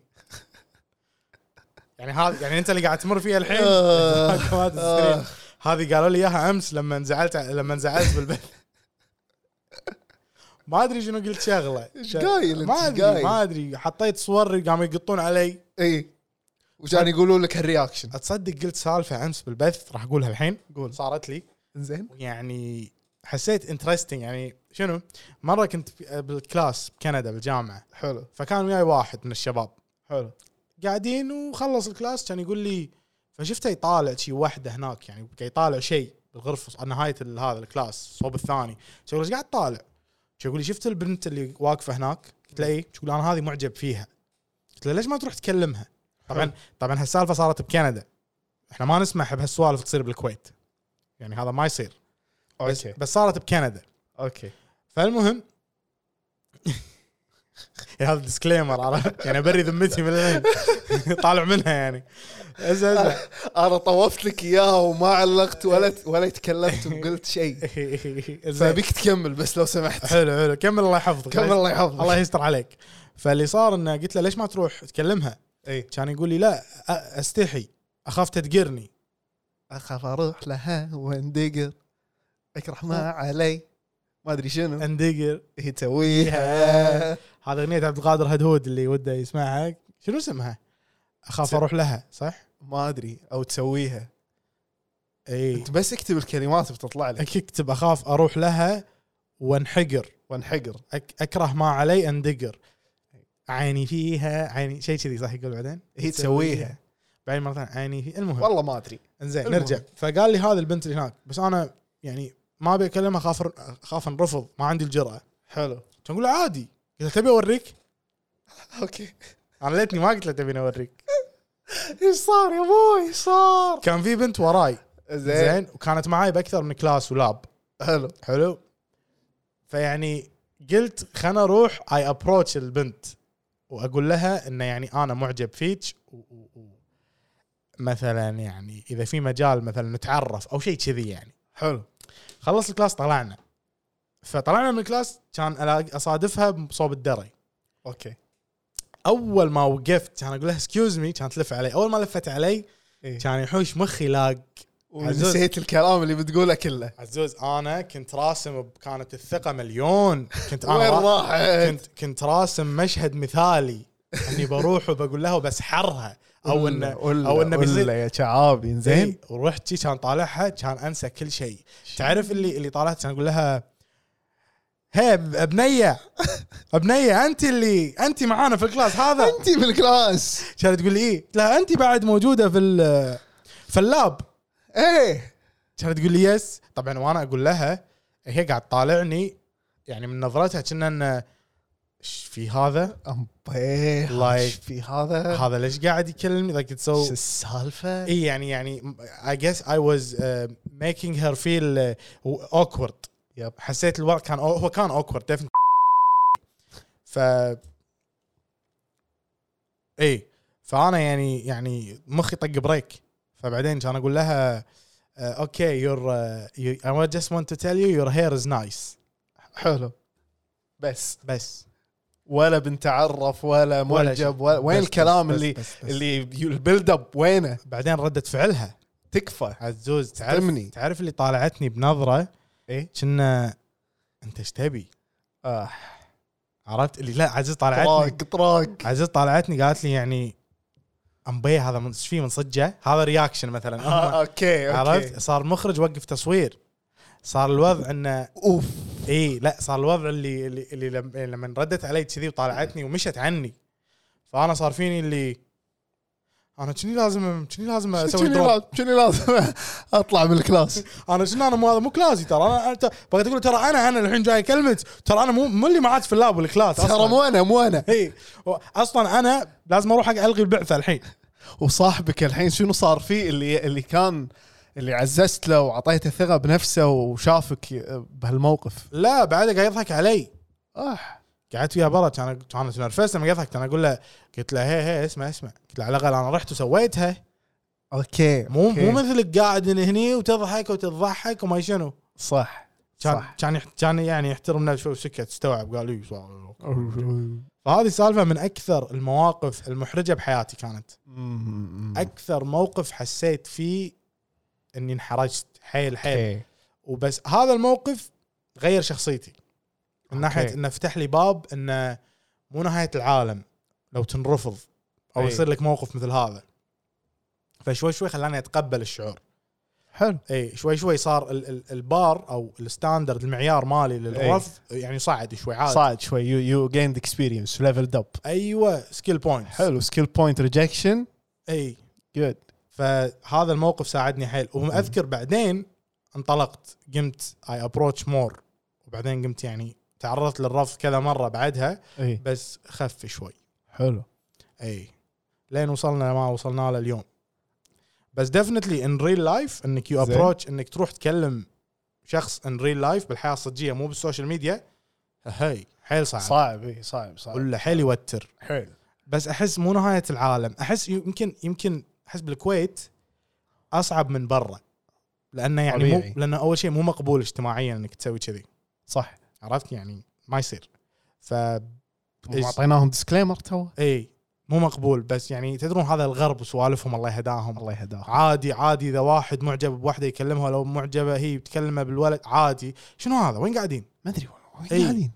يعني هذا يعني انت اللي قاعد تمر فيها الحين
آه.
تراكمات السنين هذه قالوا لي اياها امس لما انزعلت لما انزعلت بالبث ما ادري شنو قلت شغله
إيش قايل أنت؟
ما ادري
قايل.
ما ادري حطيت صور قاموا يقطون علي
اي وكان يقولون لك الرياكشن
اتصدق قلت سالفه امس بالبث راح اقولها الحين قول صارت لي
زين
يعني حسيت انترستنج يعني شنو مره كنت في- بالكلاس بكندا بالجامعه
حلو
فكان وياي واحد من الشباب
حلو
قاعدين وخلص الكلاس كان يقول لي فشفته يطالع شي وحده هناك يعني قاعد يطالع شيء بالغرفه على نهايه ال- هذا الكلاس الصوب الثاني شو ايش قاعد طالع شو يقول لي شفت البنت اللي واقفه هناك قلت له ايه شو يقول انا هذه معجب فيها قلت له ليش ما تروح تكلمها طبعا
حلو.
طبعا هالسالفه صارت بكندا احنا ما نسمح بهالسوالف تصير بالكويت يعني هذا ما يصير بس,
اوكي
بس صارت بكندا
اوكي
فالمهم هذا ديسكليمر عرفت يعني بري ذمتي من الآن. طالع منها يعني آه. أزا أزا.
انا طوفت لك اياها وما علقت ولا ولا تكلمت وقلت شيء
زين.
فابيك تكمل بس لو سمحت
حلو حلو كمل الله يحفظك
كمل الله
الله
يحفظك
يستر عليك فاللي صار انه قلت له ليش ما تروح تكلمها؟
إي.
كان يقول لي لا أ- استحي اخاف تدقرني
اخاف اروح لها واندقر اكره ما علي ما ادري شنو
اندقر
هي تسويها
هذا اغنيه عبد القادر هدهود اللي وده يسمعها شنو اسمها؟ اخاف
س-
اروح لها صح؟
ما ادري او تسويها
اي
انت بس اكتب الكلمات بتطلع لك
اكتب اخاف اروح لها وانحقر
وانحقر
أك اكره ما علي اندقر عيني فيها عيني شيء كذي صح يقول بعدين
هي تسويها
بعدين مره ثانيه عيني فيها المهم
والله ما ادري
انزين
المهم.
نرجع فقال لي هذا البنت اللي هناك بس انا يعني ما ابي اكلمها خاف خاف انرفض ما عندي الجرأه
حلو
كان اقول له عادي قلت له تبي اوريك
اوكي
انا ليتني ما قلت له تبيني اوريك
ايش صار يا ابوي إيش صار
كان في بنت وراي
زين
زين وكانت معاي باكثر من كلاس ولاب
حلو
حلو فيعني قلت خلنا اروح اي ابروتش البنت واقول لها انه يعني انا معجب فيك و- و- و- مثلا يعني اذا في مجال مثلا نتعرف او شيء كذي يعني
حلو
خلص الكلاس طلعنا فطلعنا من الكلاس كان ألاقي- اصادفها بصوب الدري
اوكي
اول ما وقفت كان اقول لها سكيوز مي كانت تلف علي اول ما لفت علي
إيه.
كان يحوش مخي لاق
ونسيت الكلام اللي بتقوله كله
عزوز انا كنت راسم كانت الثقه مليون كنت انا
وين
را-
راح
كنت كنت راسم مشهد مثالي اني بروح وبقول لها وبسحرها او انه او انه بيصير
يا شعابي زين
إي، ورحت شي كان طالعها كان انسى كل شيء تعرف اللي اللي طالعت كان اقول لها هي ب- بنيه بنيه انت اللي انت معانا في الكلاس هذا
انت بالكلاس
إيه؟ كانت تقول لي ايه لا انت بعد موجوده في ال- في اللاب ايه كانت تقول لي يس طبعا وانا اقول لها هي قاعد طالعني يعني من نظرتها كنا انه ايش في هذا؟
امبيه
Like-
ايش في هذا
هذا ليش قاعد يكلمني؟ ذاك
ايش
تسوي
السالفه
اي يعني يعني I guess I was uh, making her feel uh, awkward
Yep.
حسيت الوضع كان هو كان awkward definitely ف اي فانا إيه، يعني يعني مخي طق بريك فبعدين كان اقول لها uh, اوكي يور you I just want to tell you your hair is nice
حلو بس
بس
ولا بنتعرف ولا معجب ولا
شيء.
وين
بس-
الكلام
بس-
اللي
بس- بس.
اللي يو- البيلد اب وينه
بعدين ردة فعلها
تكفى
عزوز
استلمني.
تعرف تعرف اللي طالعتني بنظره
ايه
كنا انت ايش تبي؟
آه.
عرفت اللي لا عزيز طالعتني
طراق طراق
عزيز طالعتني قالت لي يعني امبي هذا من ايش فيه من صجه هذا رياكشن مثلا
آه، اوكي اوكي
عرفت صار المخرج وقف تصوير صار الوضع انه
اوف
اي لا صار الوضع اللي اللي, اللي لم- لما ردت علي كذي وطالعتني ومشت عني فانا صار فيني اللي انا كني لازم كني لازم اسوي
شنو
دروب
لازم- شنو لازم اطلع من الكلاس
انا شنو انا مو هذا مو كلاسي ترى انا انت بغيت اقول ترى انا انا الحين جاي اكلمك ترى انا مو مو اللي معاك في اللاب والكلاس
ترى
أصلاً.
مو انا مو انا
اي و- اصلا انا لازم اروح الغي البعثه الحين
وصاحبك الحين شنو صار فيه اللي اللي كان اللي عززت له وعطيته ثقه بنفسه وشافك بهالموقف
لا بعده قاعد يضحك علي
اه
قعدت وياه برا كان كانت نرفزت لما يضحك كان اقول له قلت له هي هي اسمع اسمع قلت له على الاقل انا رحت وسويتها
اوكي
مو
أوكي.
مو مثلك قاعد من هني وتضحك وتضحك وما شنو
صح
كان
صح.
كان يح- كان يعني يحترم نفسه وسكت استوعب قال اي فهذه سالفه من اكثر المواقف المحرجه بحياتي كانت اكثر موقف حسيت فيه اني انحرجت حيل حيل
أوكي.
وبس هذا الموقف غير شخصيتي من ناحيه
أوكي.
انه فتح لي باب انه مو نهايه العالم لو تنرفض او
أي.
يصير لك موقف مثل هذا فشوي شوي خلاني اتقبل الشعور
حلو
اي شوي شوي صار ال- ال- البار او الستاندرد المعيار مالي للرفض يعني صعد شوي عادي
صعد شوي يو يو جيند اكسبيرينس ليفلد اب
ايوه سكيل بوينت
حلو سكيل بوينت ريجكشن
اي
جود
فهذا الموقف ساعدني حيل واذكر بعدين انطلقت قمت اي ابروتش مور وبعدين قمت يعني تعرضت للرفض كذا مره بعدها
اي
بس خف شوي
حلو
اي لين وصلنا لما وصلنا له اليوم بس ديفنتلي ان ريل لايف انك يو
زين.
ابروتش انك تروح تكلم شخص ان ريل لايف بالحياه الصجيه مو بالسوشيال ميديا هي حيل صعب, صعب.
صعب اي صعب صعب
ولا حيل يوتر
حلو
بس احس مو نهايه العالم احس يمكن يمكن احس بالكويت اصعب من برا لانه يعني
طبيعي.
مو لانه اول شيء مو مقبول اجتماعيا انك تسوي كذي
صح
عرفت يعني ما يصير ف إيش-
اعطيناهم ديسكليمر تو
اي مو مقبول بس يعني تدرون هذا الغرب وسوالفهم الله يهداهم
الله يهداه
عادي عادي اذا واحد معجب بواحده يكلمها لو معجبه هي بتكلمه بالولد عادي شنو هذا وين قاعدين
ما ادري والله وين
إي.
قاعدين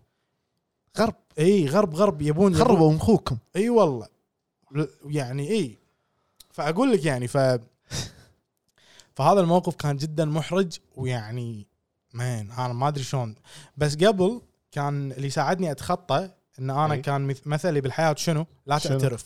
غرب
اي غرب غرب يبون يبون-
خربوا مخوكم
اي والله ل- يعني اي فاقول لك يعني ف فهذا الموقف كان جدا محرج ويعني مان انا ما ادري شلون بس قبل كان اللي ساعدني اتخطى ان انا
أي.
كان مث- مثلي بالحياه شنو؟ لا
شنو؟
تعترف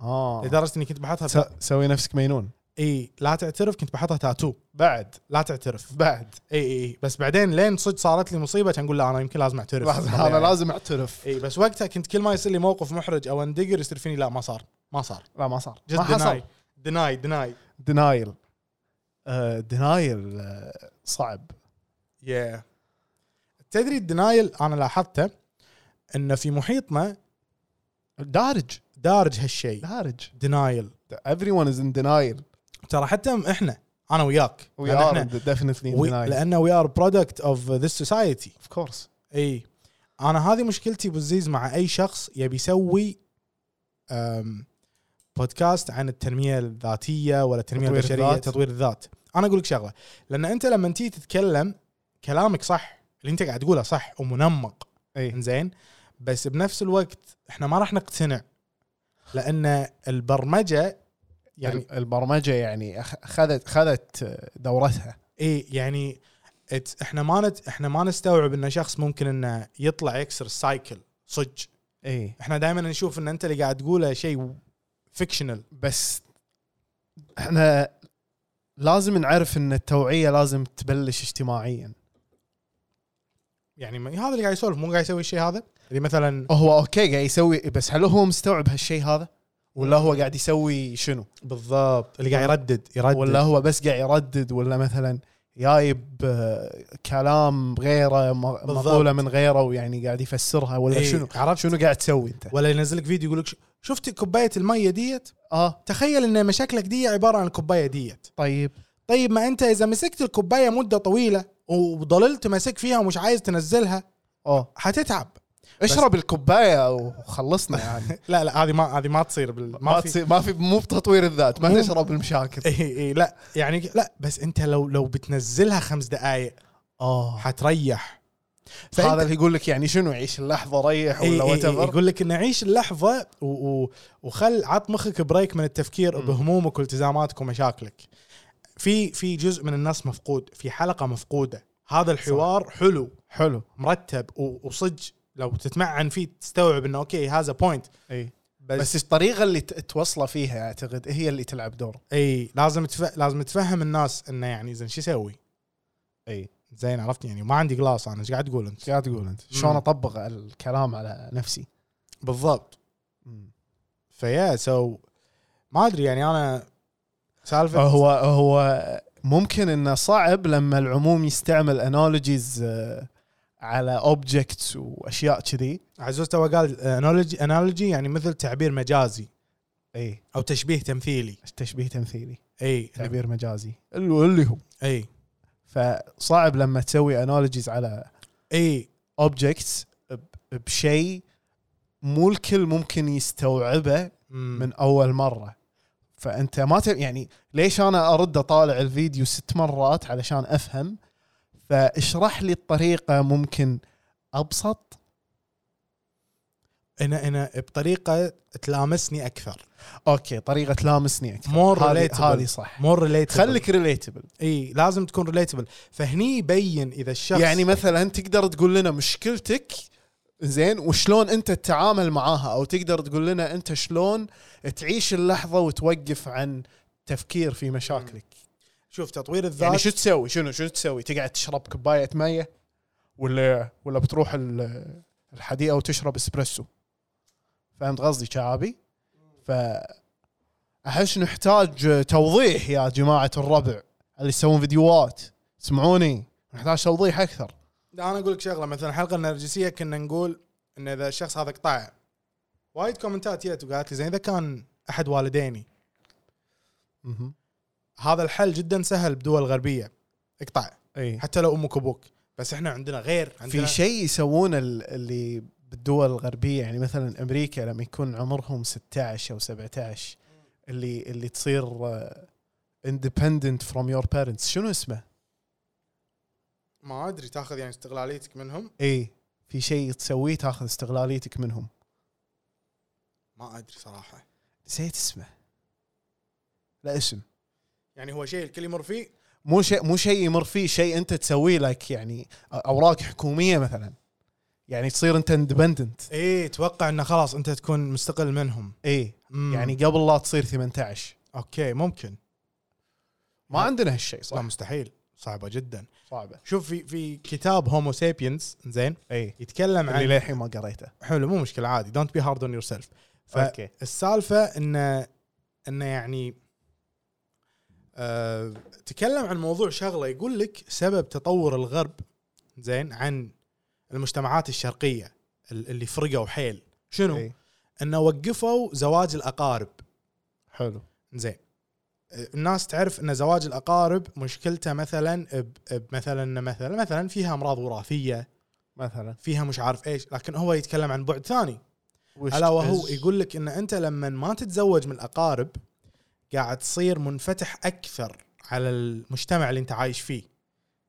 اه
لدرجه اني كنت بحطها تا...
س- سوي نفسك مينون
اي لا تعترف كنت بحطها تاتو
بعد
لا تعترف
بعد
اي اي اي بس بعدين لين صدق صارت لي مصيبه كان اقول لا انا يمكن لازم اعترف
لازم يعني. إيه. انا لازم اعترف
اي بس وقتها كنت كل ما يصير لي موقف محرج او اندقر يصير فيني لا ما صار ما صار
لا ما صار
Just
ما حصل
deny. deny deny
دينايل دينايل آه، صعب
yeah. تدري الدنايل انا لاحظته انه في محيطنا
دارج
دارج هالشيء
دارج
دنايل
everyone is in denial
ترى حتى احنا انا وياك
we
لأن
are
احنا
definitely in
we,
denial
لان وي ار برودكت اوف ذيس سوسايتي
of course
اي انا إيه. هذه مشكلتي بالزيز مع اي شخص يبي يسوي أم، بودكاست عن التنميه الذاتيه ولا التنميه
تطوير
البشريه
الذات.
تطوير الذات انا اقول لك شغله لان انت لما تيجي تتكلم كلامك صح اللي انت قاعد تقوله صح ومنمق
اي
زين بس بنفس الوقت احنا ما راح نقتنع لان البرمجه يعني
يعني البرمجه يعني أخ- اخذت اخذت دورتها
اي يعني ات- احنا ما نت احنا ما نستوعب ان شخص ممكن انه يطلع يكسر السايكل صج
اي
احنا دائما نشوف ان انت اللي قاعد تقوله شيء فيكشنال
بس احنا لازم نعرف ان التوعيه لازم تبلش اجتماعيا
يعني ما- هذا اللي قاعد يسولف مو قاعد يسوي الشيء هذا اللي مثلا
هو اوكي قاعد يسوي بس هل هو مستوعب هالشيء هذا ولا هو قاعد يسوي شنو
بالضبط اللي قاعد يردد يردد
ولا هو بس قاعد يردد ولا مثلا جايب آه، كلام غيره م-
بالضبط.
مقوله من غيره ويعني قاعد يفسرها ولا
إيه،
شنو
عرفت
شنو قاعد تسوي انت
ولا ينزل لك فيديو يقول لك ش- شفت كوبايه الميه ديت
اه
تخيل ان مشاكلك دي عباره عن الكوبايه ديت
طيب
طيب ما انت اذا مسكت الكوبايه مده طويله وضللت ماسك فيها ومش عايز تنزلها
اه
حتتعب
اشرب الكوبايه وخلصنا يعني
لا لا هذه ما هذه ما تصير بال...
ما تصير ما في مو إيه، بتطوير الذات ما
مو-
تشرب المشاكل
اي اي إيه، لا يعني لا بس انت لو لو بتنزلها خمس دقائق
اه
حتريح فأنت-
هذا اللي يقول لك يعني شنو عيش اللحظه ريح
إي
ولا
إي إي
وات ايفر
يقول لك ان عيش اللحظه و... و... وخل عط مخك بريك من التفكير
مم.
بهمومك والتزاماتك ومشاكلك في في جزء من الناس مفقود في حلقه مفقوده هذا الحوار صح. حلو
حلو
مرتب و... وصج لو تتمعن فيه تستوعب انه اوكي هذا بوينت
اي
بس,
بس الطريقه اللي ت- توصله فيها اعتقد هي اللي تلعب دور
اي لازم تف... لازم تفهم الناس انه يعني زين شو اسوي؟
اي
زين عرفت يعني ما عندي قلاص انا ايش قاعد تقول انت؟
ايش قاعد تقول انت شلون اطبق الكلام على نفسي
بالضبط فيا سو ما ادري يعني انا سالفه
هو هو ممكن انه صعب لما العموم يستعمل انالوجيز على اوبجكتس واشياء كذي
عزوز تو قال انالوجي انالوجي يعني مثل تعبير مجازي
اي
او تشبيه تمثيلي
تشبيه تمثيلي
اي
تعبير مجازي نعم. اللي اللي هو
اي
فصعب لما تسوي انالوجيز على
اي
اوبجكتس بشيء مو الكل ممكن يستوعبه
من
من اول مره فانت ما ت... يعني ليش انا ارد اطالع الفيديو ست مرات علشان افهم فاشرح لي الطريقه ممكن ابسط
انا انا بطريقه تلامسني اكثر
اوكي طريقه تلامسني اكثر
More
هذه-
relatable.
هذه صح
مور ريليتبل
خليك ريليتبل
اي لازم تكون ريليتبل فهني يبين اذا الشخص
يعني مثلا تقدر تقول لنا مشكلتك زين وشلون انت تتعامل معاها او تقدر تقول لنا انت شلون تعيش اللحظه وتوقف عن تفكير في مشاكلك
شوف تطوير الذات
يعني شو تسوي شنو شنو تسوي تقعد تشرب كوبايه ميه ولا ولا بتروح ال- الحديقه وتشرب اسبريسو فهمت قصدي شعابي ف احس نحتاج توضيح يا جماعه الربع اللي يسوون فيديوهات اسمعوني نحتاج توضيح اكثر
لا انا اقول لك شغله مثلا الحلقه النرجسيه كنا نقول ان اذا الشخص هذا قطع وايد كومنتات جت وقالت لي زين اذا كان احد والديني هذا الحل جدا سهل بدول غربيه اقطع
اي
حتى لو امك وابوك بس احنا عندنا غير عندنا
إيه. في شيء يسوونه ال- اللي بالدول الغربيه يعني مثلا امريكا لما يكون عمرهم 16 او 17 اللي اللي تصير آه، اندبندنت فروم يور بيرنتس شنو اسمه؟
ما ادري تاخذ يعني استغلاليتك منهم
اي إيه، في شيء تسويه تاخذ استغلاليتك منهم
ما ادري صراحه
نسيت اسمه لا اسم
يعني هو شيء الكل يمر فيه
مو شيء مو شيء يمر فيه شيء انت تسويه لك يعني اوراق حكوميه مثلا يعني تصير انت اندبندنت
ايه توقع انه خلاص انت تكون مستقل منهم
اي
مم.
يعني قبل لا تصير 18
اوكي ممكن
ما عندنا هالشيء
لا
صح
مستحيل صعبه جدا
صعبه
شوف في في كتاب هومو سابينز زين
اي
يتكلم عن
اللي للحين ما قريته
حلو مو مشكله عادي دونت بي هارد اون يور سيلف
اوكي
فالسالفه انه انه يعني أه تكلم عن موضوع شغله يقول لك سبب تطور الغرب زين عن المجتمعات الشرقيه ال- اللي فرقوا حيل شنو؟
إي.
انه وقفوا زواج الاقارب
حلو
زين أه، الناس تعرف ان زواج الاقارب مشكلته مثلا ب- ب- مثلا مثلا مثلا فيها امراض وراثيه
مثلا
فيها مش عارف ايش لكن هو يتكلم عن بعد ثاني
وش
الا وهو
إز-
يقول لك ان انت لما ما تتزوج من الاقارب قاعد تصير منفتح اكثر على المجتمع اللي انت عايش فيه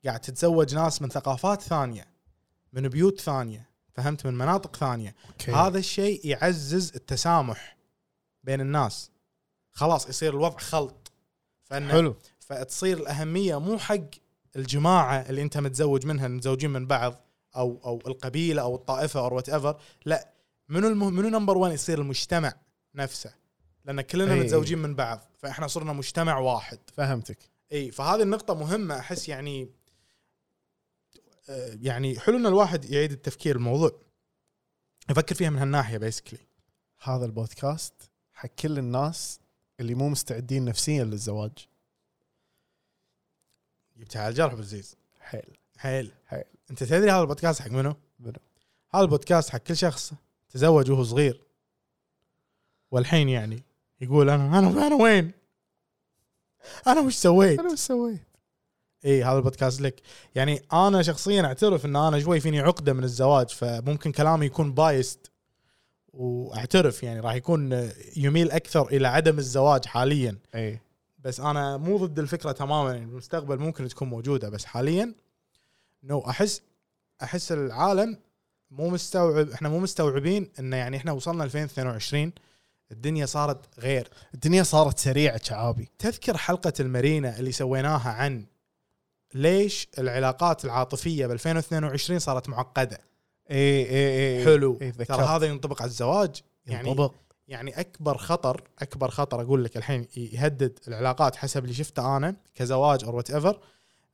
قاعد تتزوج ناس من ثقافات ثانيه من بيوت ثانيه فهمت من مناطق ثانيه
أوكي.
هذا الشيء يعزز التسامح بين الناس خلاص يصير الوضع خلط فإن
حلو
فتصير الاهميه مو حق الجماعه اللي انت متزوج منها متزوجين من بعض او او القبيله او الطائفه او وات ايفر لا منو المه... منو نمبر 1 يصير المجتمع نفسه لان كلنا
أي.
متزوجين من بعض فاحنا صرنا مجتمع واحد
فهمتك
اي فهذه النقطة مهمة احس يعني آه، يعني حلو ان الواحد يعيد التفكير الموضوع يفكر فيها من هالناحية بيسكلي
هذا البودكاست حق كل الناس اللي مو مستعدين نفسيا للزواج
جبتها على الجرح بالزيز
حيل
حيل
حيل.
انت تدري هذا البودكاست حق منو؟
منو؟
هذا البودكاست حق كل شخص تزوج وهو صغير والحين يعني يقول انا انا انا وين؟ انا وش سويت؟
انا وش سويت؟
اي هذا البودكاست لك يعني انا شخصيا اعترف ان انا شوي فيني عقده من الزواج فممكن كلامي يكون بايست واعترف يعني راح يكون يميل اكثر الى عدم الزواج حاليا
اي
بس انا مو ضد الفكره تماما يعني بالمستقبل ممكن تكون موجوده بس حاليا نو احس احس العالم مو مستوعب احنا مو مستوعبين انه يعني احنا وصلنا 2022 الدنيا صارت غير
الدنيا صارت سريعه شعابي
تذكر حلقة المارينا اللي سويناها عن ليش العلاقات العاطفية ب 2022 صارت معقدة
اي اي اي
حلو
اي
ترى
تذكرت
هذا ينطبق على الزواج يعني
يعني
يعني اكبر خطر اكبر خطر اقول لك الحين يهدد العلاقات حسب اللي شفته انا كزواج او وات ايفر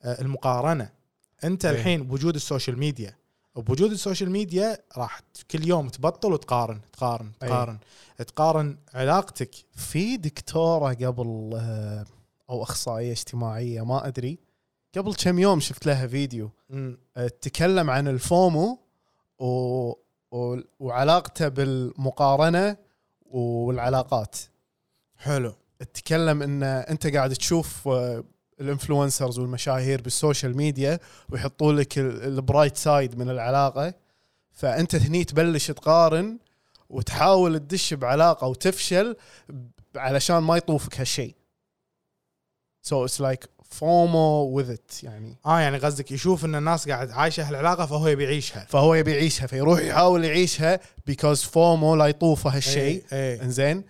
المقارنة انت
إيه.
الحين بوجود السوشيال ميديا وبوجود السوشيال ميديا راح كل يوم تبطل وتقارن تقارن
إيه.
تقارن تقارن علاقتك
في دكتوره قبل آه، او اخصائيه اجتماعيه ما ادري قبل كم يوم شفت لها فيديو
مم.
آه، تكلم عن الفومو و... و... وعلاقته بالمقارنه والعلاقات
حلو
تتكلم ان انت قاعد تشوف آه، الانفلونسرز والمشاهير بالسوشيال ميديا ويحطوا لك ال- البرايت سايد من العلاقه فانت هني تبلش تقارن وتحاول تدش بعلاقه وتفشل ب- علشان ما يطوفك هالشيء. سو اتس لايك فومو وذ ات يعني
اه يعني قصدك يشوف ان الناس قاعد عايشه هالعلاقه فهو يبي يعيشها
فهو يبي يعيشها فيروح يحاول يعيشها بيكوز فومو لا يطوفه هالشيء
اي اي
انزين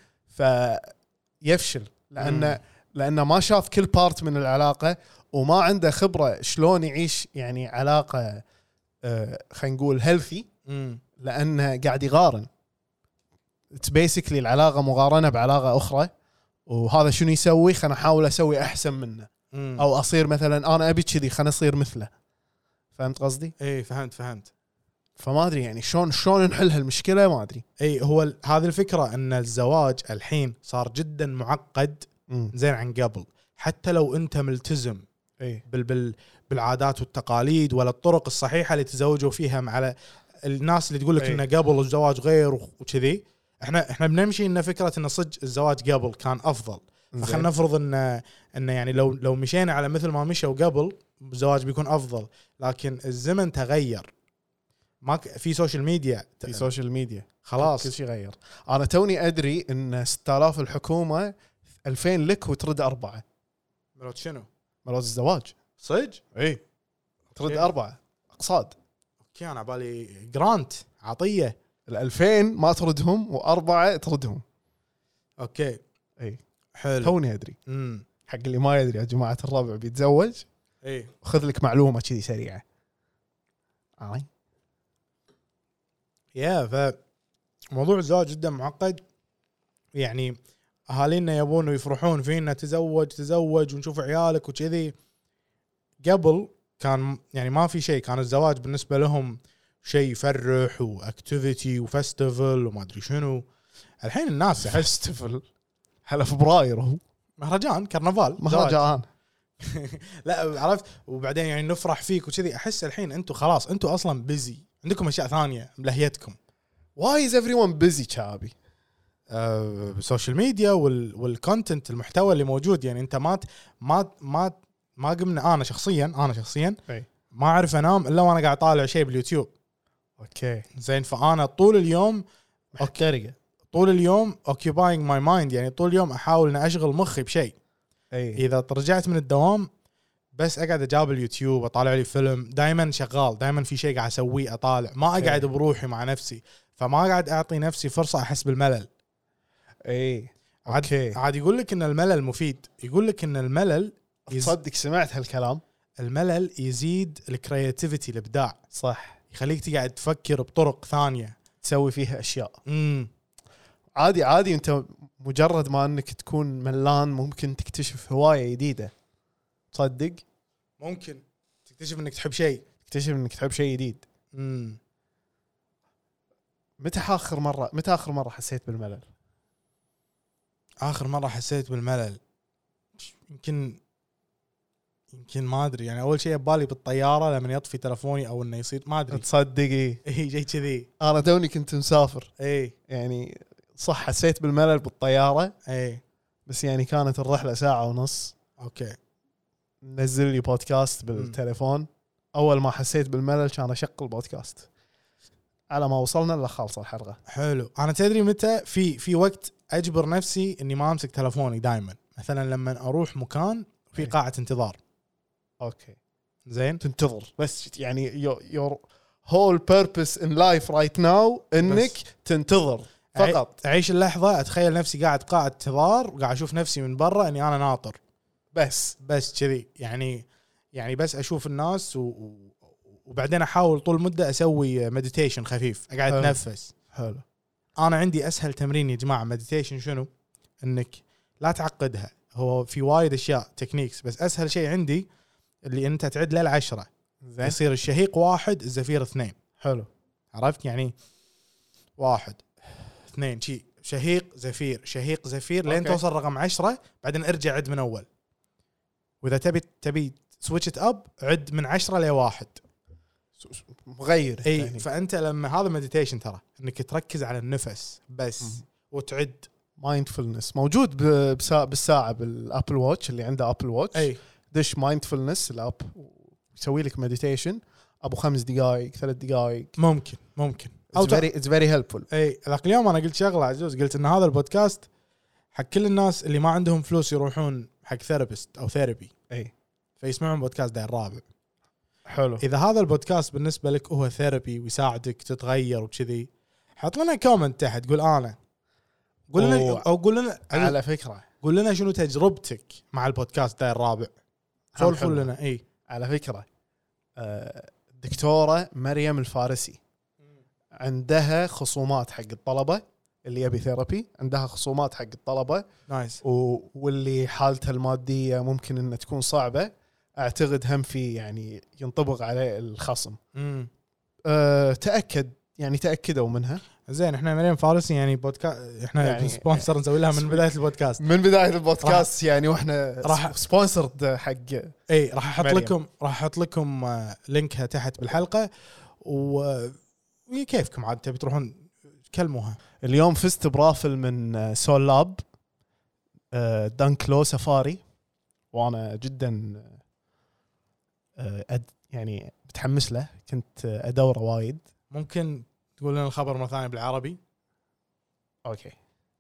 فيفشل
مم.
لانه لانه ما شاف كل بارت من العلاقه وما عنده خبره شلون يعيش يعني علاقه آه، خلينا نقول هيلثي
مم.
لانه قاعد يقارن اتس بيسكلي العلاقه مقارنه بعلاقه اخرى وهذا شنو يسوي خلنا احاول اسوي احسن منه
مم.
او اصير مثلا انا ابي كذي خلنا اصير مثله فهمت قصدي
اي فهمت فهمت
فما ادري يعني شلون شلون نحل هالمشكله ما ادري
اي إيه، هو ال- هذه الفكره ان الزواج الحين صار جدا معقد زين عن قبل حتى لو انت ملتزم
اي
بال بال بالعادات والتقاليد ولا الطرق الصحيحه اللي تزوجوا فيها مع ال- الناس اللي تقول لك
إيه.
انه قبل الزواج غير وخ- وكذي احنا احنا بنمشي ان فكره ان صدق الزواج قبل كان افضل فخلنا نفرض ان ان يعني لو لو مشينا على مثل ما مشوا قبل الزواج بيكون افضل لكن الزمن تغير ما ك... في سوشيال ميديا ت-
في سوشيال ميديا
خلاص
كل شيء غير انا توني ادري ان 6000 الحكومه 2000 لك وترد اربعه
مرات شنو
مرات الزواج
صدق
اي ترد
أوكي.
اربعه اقساط
اوكي انا على بالي جرانت عطيه
ال 2000 ما تردهم واربعه تردهم
اوكي
اي
حلو
توني ادري
امم
حق اللي ما يدري يا جماعه الربع بيتزوج
اي
خذ لك معلومه كذي آه. سريعه آي.
يا ف موضوع الزواج جدا معقد يعني اهالينا يبون يفرحون فينا تزوج تزوج ونشوف عيالك وكذي قبل كان يعني ما في شيء كان الزواج بالنسبه لهم شيء يفرح واكتيفيتي وفستيفال وما ادري شنو الحين الناس احس
فستيفال هلا فبراير هو
مهرجان كرنفال زواج.
مهرجان
لا عرفت وبعدين يعني نفرح فيك وكذي احس الحين انتم خلاص انتم اصلا بيزي عندكم اشياء ثانيه ملهيتكم
واي از ايفري ون بيزي شعبي
السوشيال ميديا آه، وال والكونتنت المحتوى اللي موجود يعني انت ما ت- ما ت- ما ت- ما قمنا انا شخصيا انا شخصيا
أي.
ما اعرف انام الا وانا قاعد طالع شيء باليوتيوب
اوكي
زين فانا طول اليوم
محترقه
طول اليوم اوكيباينج ماي مايند يعني طول اليوم احاول اني اشغل مخي بشيء
اي
اذا رجعت من الدوام بس اقعد اجاب اليوتيوب اطالع لي فيلم دائما شغال دائما في شيء قاعد اسويه اطالع ما اقعد
أي.
بروحي مع نفسي فما قاعد اعطي نفسي فرصه احس بالملل
اي
إيه. عاد
اوكي
عاد يقول لك ان الملل مفيد يقول لك ان الملل يز...
تصدق سمعت هالكلام
الملل يزيد الكرياتيفيتي الابداع
صح
يخليك تقعد تفكر بطرق ثانيه
تسوي فيها اشياء
امم
عادي عادي انت مجرد ما انك تكون ملان ممكن تكتشف هوايه جديده تصدق
ممكن تكتشف انك تحب شيء
تكتشف انك تحب شيء جديد
امم
متى اخر مره متى اخر مره حسيت بالملل
اخر مره حسيت بالملل يمكن يمكن ما ادري يعني اول شيء ببالي بالطياره لما يطفي تلفوني او انه يصير ما ادري
تصدق ايه
اي شيء كذي
انا توني كنت مسافر
اي
يعني صح حسيت بالملل بالطياره
اي
بس يعني كانت الرحله ساعه ونص
اوكي
نزل لي بودكاست بالتليفون اول ما حسيت بالملل كان اشغل البودكاست على ما وصلنا الا خالصه الحلقه
حلو انا تدري متى في في وقت اجبر نفسي اني ما امسك تلفوني دائما مثلا لما اروح مكان في
إي.
قاعه انتظار
اوكي
زين
تنتظر بس يعني يور هول بيربس ان لايف رايت ناو انك
بس.
تنتظر فقط
أعي- اعيش اللحظه اتخيل نفسي قاعد قاعه انتظار وقاعد اشوف نفسي من برا اني انا ناطر
بس
بس كذي يعني يعني بس اشوف الناس و... و- وبعدين احاول طول المده اسوي مديتيشن خفيف اقعد
حلو.
اتنفس
حلو
انا عندي اسهل تمرين يا جماعه مديتيشن شنو؟ انك لا تعقدها هو في وايد اشياء تكنيكس بس اسهل شيء عندي اللي انت تعد للعشره
زين
يصير الشهيق واحد الزفير اثنين
حلو
عرفت يعني واحد اثنين شي شهيق زفير شهيق زفير لين
أوكي.
توصل رقم عشرة بعدين ارجع عد من اول واذا تبي تبي سويتش اب عد من عشرة لواحد
مغير
اي فانت إيه، لما هذا مديتيشن ترى انك تركز على النفس بس
مم.
وتعد
مايندفولنس موجود ب- بسا- بالساعه بالابل واتش اللي عنده ابل واتش
اي
دش مايندفولنس الاب يسوي لك مديتيشن ابو خمس دقائق ثلاث دقائق
ممكن ممكن او
اتس
تع-
فيري اتس فيري هيلبفول
اي ذاك اليوم انا قلت شغله عزوز قلت ان هذا البودكاست حق كل الناس اللي ما عندهم فلوس يروحون حق ثيرابيست او ثيرابي
اي
فيسمعون بودكاست داير الرابع
حلو
اذا هذا البودكاست بالنسبه لك هو ثيرابي ويساعدك تتغير وكذي حط لنا كومنت تحت قول انا قول لنا
أوه.
او قول لنا
على فكره
قول لنا شنو تجربتك مع البودكاست داير الرابع سولفوا
حلو.
لنا إيه. اي
على فكره آه، الدكتوره مريم الفارسي عندها خصومات حق الطلبه اللي يبي ثيرابي عندها خصومات حق الطلبه
نايس
و... واللي حالتها الماديه ممكن انها تكون صعبه اعتقد هم في يعني ينطبق عليه الخصم
مم.
أه تاكد يعني تاكدوا منها
زين احنا مريم فارسي يعني بودكاست احنا يعني
يعني-
سبونسر نسوي لها من بدايه البودكاست
من بدايه البودكاست يعني واحنا
راح-
راح سبونسرد حق
اي راح احط
مريم.
لكم راح احط لكم آه، لينكها تحت بالحلقه و آه، كيفكم عاد تبي تروحون كلموها
اليوم فزت برافل من آه، سول لاب آه، دانك لو سفاري وانا جدا آه، أد يعني متحمس له كنت آه، ادوره وايد
ممكن تقول لنا الخبر مره ثانيه بالعربي
اوكي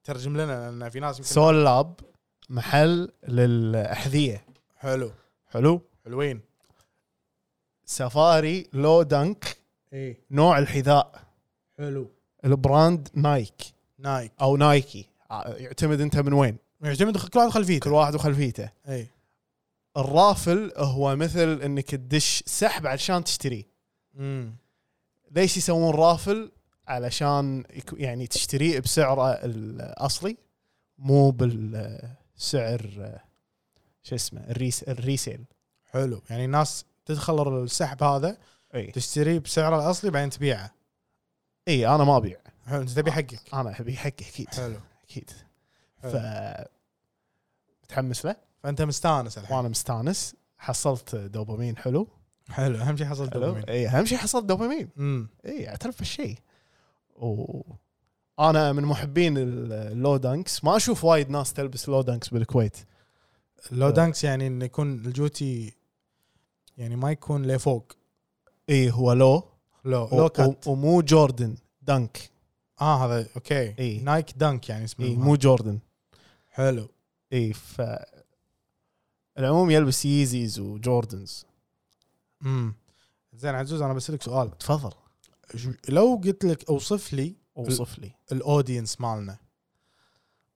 ترجم لنا لان في ناس يمكن
سول لاب محل للاحذيه
حلو
حلو
حلوين
سفاري لو دانك
اي
نوع الحذاء
حلو
البراند نايك
نايك
او نايكي آه، يعتمد انت من وين
يعتمد كل واحد
كل
خلفيته
واحد وخلفيته
اي
الرافل هو مثل انك تدش سحب علشان تشتريه
امم
ليش يسوون رافل علشان يكو- يعني تشتريه بسعره الاصلي مو بالسعر شو اسمه الريس الريسيل
حلو يعني الناس تدخل السحب هذا
اي
تشتريه بسعره الاصلي بعدين تبيعه
اي انا ما ابيع
حلو انت تبي حقك
انا ابي حق اكيد
حلو
اكيد ف
حلو.
متحمس له
فانت مستانس الحين
وانا مستانس حصلت دوبامين حلو
حلو اهم شيء حصلت
حلو
دوبامين
اي اهم شيء حصلت دوبامين
امم
اي اعترف بالشيء و انا من محبين ال- اللو دانكس ما اشوف وايد ناس تلبس لو دانكس بالكويت
لو دانكس يعني انه يكون الجوتي يعني ما يكون لفوق
اي إيه، هو لو
لو
لو
لو كات
ومو جوردن دانك
اه هذا اوكي
إي.
نايك دانك يعني اسمه
اي مو جوردن
حلو
اي ف العموم يلبس ييزيز وجوردنز
امم زين عزوز انا بسالك سؤال
تفضل
شو- لو قلت لك اوصف لي
اوصف لي
الاودينس مالنا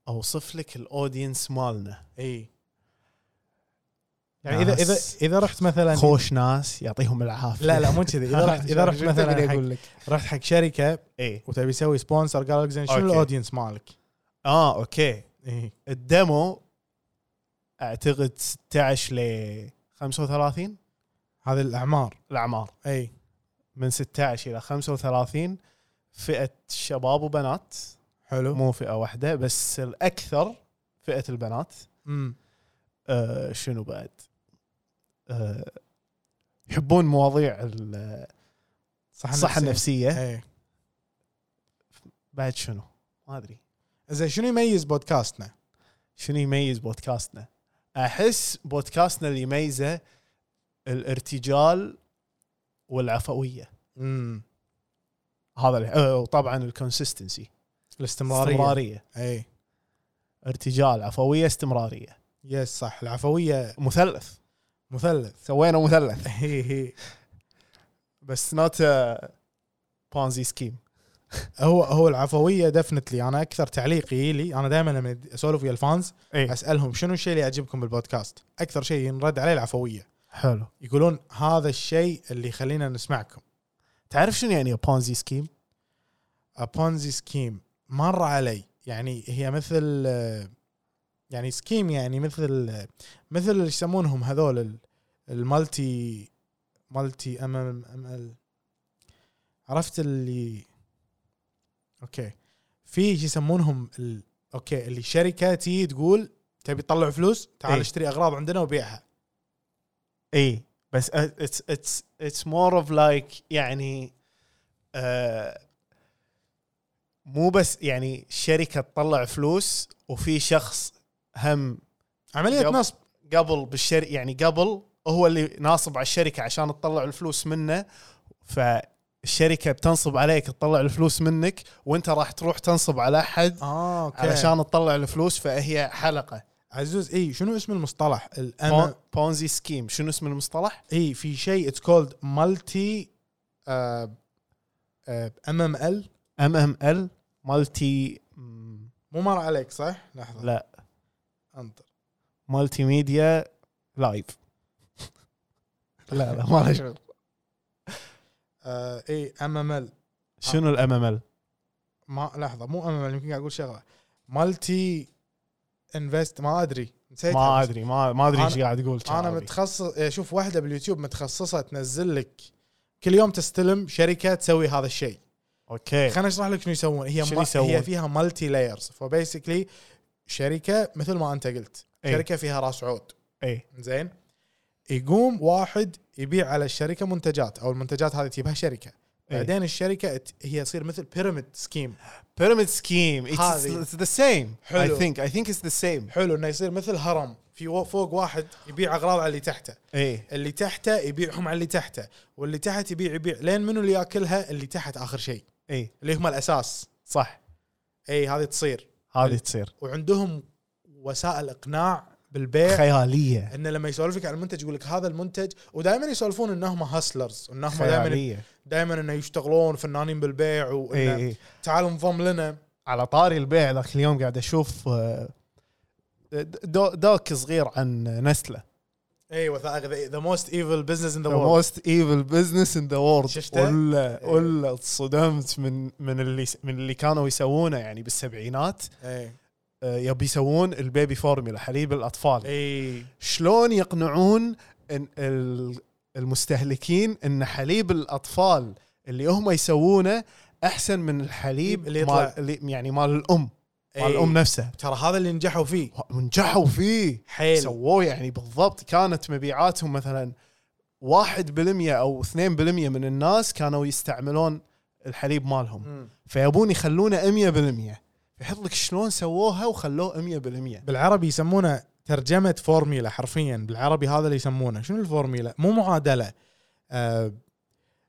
اوصف لك الاودينس مالنا
اي يعني اذا اذا
إيه. ناس
اذا رحت مثلا
خوش ناس يعطيهم العافيه
لا لا مو كذي اذا رحت اذا رحت
شو تقدر
مثلا حق
اقول لك
رحت حق شركه
اي
وتبي تسوي سبونسر قال لك زين شنو
أوكي.
الاودينس مالك؟
اه
إيه.
اوكي
اي
الديمو اعتقد 16 ل 35
هذه الاعمار
الاعمار
اي
من 16 الى 35 فئه شباب وبنات
حلو
مو فئه واحده بس الاكثر فئه البنات
امم
آه شنو بعد آه يحبون مواضيع ال-
صح
الصحه النفسيه
اي
بعد شنو ما ادري
زين شنو يميز بودكاستنا؟
شنو يميز بودكاستنا؟ احس بودكاستنا اللي يميزه الارتجال والعفويه
امم
هذا اللي- آه، وطبعا الكونسستنسي
الاستمراريه
استمراريه
اي
ارتجال عفويه استمراريه
يس صح العفويه
مثلث
مثلث
سوينا مثلث
هي هي
بس نوت بانزي سكيم
هو هو العفويه دفنتلي انا اكثر تعليق يجي انا دائما لما اسولف ويا الفانز
اي
اسالهم شنو الشيء اللي يعجبكم بالبودكاست؟ اكثر شيء ينرد عليه العفويه
حلو
يقولون هذا الشيء اللي يخلينا نسمعكم
تعرف شنو يعني بانزي سكيم؟
بونزي سكيم مر علي يعني هي مثل آه، يعني سكيم يعني مثل آه، مثل اللي يسمونهم هذول ال- المالتي مالتي ام ام ام ال عرفت اللي اوكي في شي يسمونهم ال... اوكي اللي شركه تي تقول تبي تطلع فلوس تعال
إيه.
اشتري اغراض عندنا وبيعها
اي إيه، بس اتس اتس اتس مور اوف لايك يعني آه مو بس يعني شركه تطلع فلوس وفي شخص هم
عمليه
يب.
نصب
قبل بالشر يعني قبل هو اللي ناصب على الشركه عشان تطلع الفلوس منه فالشركه بتنصب عليك تطلع الفلوس منك وانت راح تروح تنصب على احد
اه اوكي علشان
علشان تطلع الفلوس فهي حلقه
عزوز اي شنو اسم المصطلح الام
بون- بونزي سكيم شنو اسم المصطلح؟
اي إيه، في شيء اتس كولد مالتي ام ام ال
ام ام ال مالتي
مو مر عليك صح؟ لحظه
لا
انطر
مالتي ميديا لايف لا لا ما له شغل
آه، اي ام ام ال
شنو الام ام ال؟
ما لحظه مو ام ام ال يمكن قاعد اقول شغله مالتي انفست ما ادري نسيت
ما ادري ما ما ادري
أنا-
ايش قاعد تقول
انا
شعبي.
متخصص إيه، شوف واحده باليوتيوب متخصصه تنزل لك كل يوم تستلم شركه تسوي هذا الشيء
اوكي
خليني اشرح لك شنو يسوون هي
إيه. شنو
ما
يسوون؟
هي فيها مالتي لايرز فبيسكلي شركه مثل ما انت قلت
إي.
شركه فيها راس عود
اي
زين يقوم واحد يبيع على الشركه منتجات او المنتجات هذه تجيبها شركه
إيه.
بعدين الشركه ت- هي تصير مثل بيراميد سكيم
بيراميد سكيم
هذه.
اتس ذا سيم اي
حلو.
ثينك اي ثينك اتس ذا سيم
حلو انه يصير مثل هرم في و- فوق واحد يبيع اغراض على اللي تحته
اي
اللي تحته يبيعهم على اللي تحته واللي تحت يبيع يبيع لين منو اللي ياكلها اللي تحت اخر شيء
اي
اللي هم الاساس
إيه. صح
اي هذه تصير
هذه تصير
وعندهم وسائل اقناع بالبيع
خياليه
انه لما يسولفك عن المنتج يقول لك هذا المنتج ودائما يسولفون انهم هاسلرز انهم دائما
خياليه
دائما انه يشتغلون فنانين بالبيع
اي
وانه
اي
تعال انضم لنا
إيه، على طاري البيع ذاك اليوم قاعد اشوف آه، دو- دوك صغير عن نسله
اي وثائقي ذا موست ايفل بزنس ان ذا
ذا
وورلد
موست ايفل بزنس ان ذا وورد
شفته؟ إيه.
ولا ولا اتصدمت من من اللي من اللي كانوا يسوونه يعني بالسبعينات
اي
آه، يبي يسوون البيبي فورميلا حليب الاطفال
اي
شلون يقنعون إن ال- المستهلكين ان حليب الاطفال اللي هم يسوونه احسن من الحليب اللي
اللي يطلع.
مال اللي يعني مال الام مال الام نفسها
إيه. ترى هذا اللي نجحوا فيه
ونجحوا فيه
حيل
سووه يعني بالضبط كانت مبيعاتهم مثلا 1% او 2% من الناس كانوا يستعملون الحليب مالهم
مم.
فيبون يخلونه 100% فيحط لك شلون سووها وخلوه 100%
بالعربي يسمونه ترجمه فورميلا حرفيا بالعربي هذا اللي يسمونه شنو الفورميلا مو آه، معادله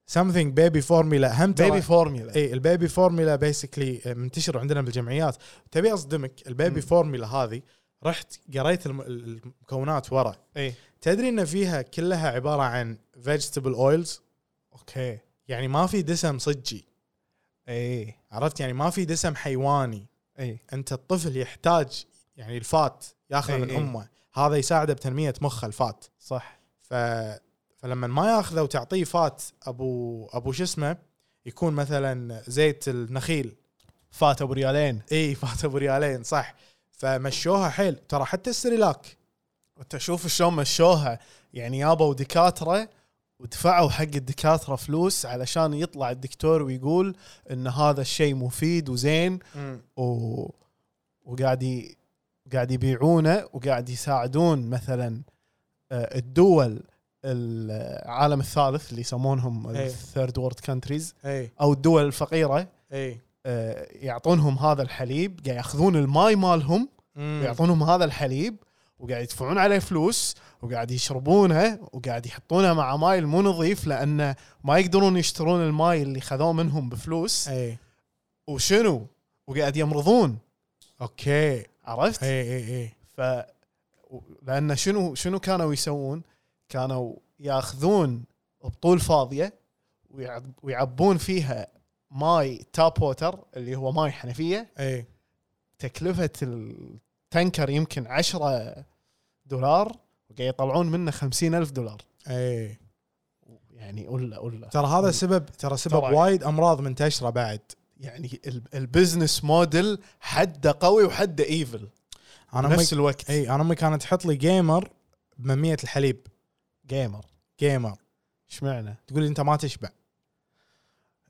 سمثينج بيبي فورميلا هم ترى-
بيبي فورميلا
اي إيه، البيبي فورميلا بيسكلي منتشر عندنا بالجمعيات تبي اصدمك البيبي
مم.
فورميلا هذه رحت قريت الم- المكونات ورا
اي
تدري ان فيها كلها عباره عن فيجيتابل اويلز
اوكي
يعني ما في دسم صجي
اي
عرفت يعني ما في دسم حيواني
اي
انت الطفل يحتاج يعني الفات ياخذه
إي
من
إي.
امه هذا يساعده بتنميه مخه الفات
إيه، صح
ف فلما ما ياخذه وتعطيه فات ابو ابو شو اسمه يكون مثلا زيت النخيل
فات ابو ريالين
اي فات ابو ريالين صح فمشوها حيل ترى حتى السريلاك
وانت شوف شلون مشوها يعني يابوا دكاتره ودفعوا حق الدكاتره فلوس علشان يطلع الدكتور ويقول ان هذا الشيء مفيد وزين
مم.
و... وقاعد ي... قاعد يبيعونه وقاعد يساعدون مثلا آه، الدول العالم الثالث اللي يسمونهم
إيه.
الثيرد وورد كانتريز
اي
او الدول الفقيره
اي
آه، يعطونهم هذا الحليب قاعد ياخذون الماي مالهم
مم.
ويعطونهم هذا الحليب وقاعد يدفعون عليه فلوس وقاعد يشربونه وقاعد يحطونه مع ماي المو نظيف لانه ما يقدرون يشترون الماي اللي خذوه منهم بفلوس
اي
وشنو وقاعد يمرضون
اوكي
عرفت؟
اي اي اي
ف لان شنو شنو كانوا يسوون؟ كانوا ياخذون بطول فاضيه ويعب- ويعبون فيها ماي تاب ووتر اللي هو ماي حنفيه
اي
تكلفه التنكر يمكن 10 دولار وقاعد يطلعون منه خمسين ألف دولار
اي
يعني قله قله
إيه. ترى هذا سبب ترى سبب
طبعاً.
وايد امراض منتشره بعد
يعني ال- البزنس موديل حده قوي وحده ايفل
انا امي
نفس الوقت
اي انا امي إيه، كانت تحط لي جيمر بمميه الحليب
جيمر
جيمر
ايش معنى؟
تقول لي انت ما تشبع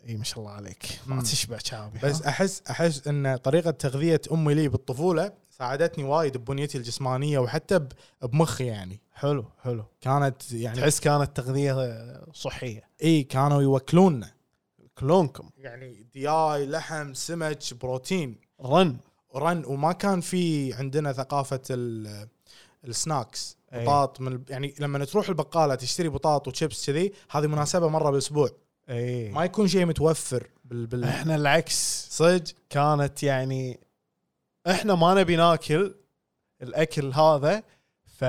اي ما شاء الله عليك ما
مم.
تشبع شعبي
بس احس احس ان طريقه تغذيه امي لي بالطفوله ساعدتني وايد ببنيتي الجسمانيه وحتى ب- بمخي يعني
حلو حلو
كانت يعني
تحس كانت تغذيه صحيه
اي كانوا يوكلونا
كلونكم
يعني دياي لحم سمك بروتين
رن
رن وما كان في عندنا ثقافه ال- السناكس
أي.
بطاط من ال- يعني لما تروح البقاله تشتري بطاط وشيبس كذي هذه مناسبه مره بالاسبوع
اي
ما يكون شيء متوفر بال, بال...
احنا العكس
صدق
كانت يعني احنا ما نبي ناكل الاكل هذا ف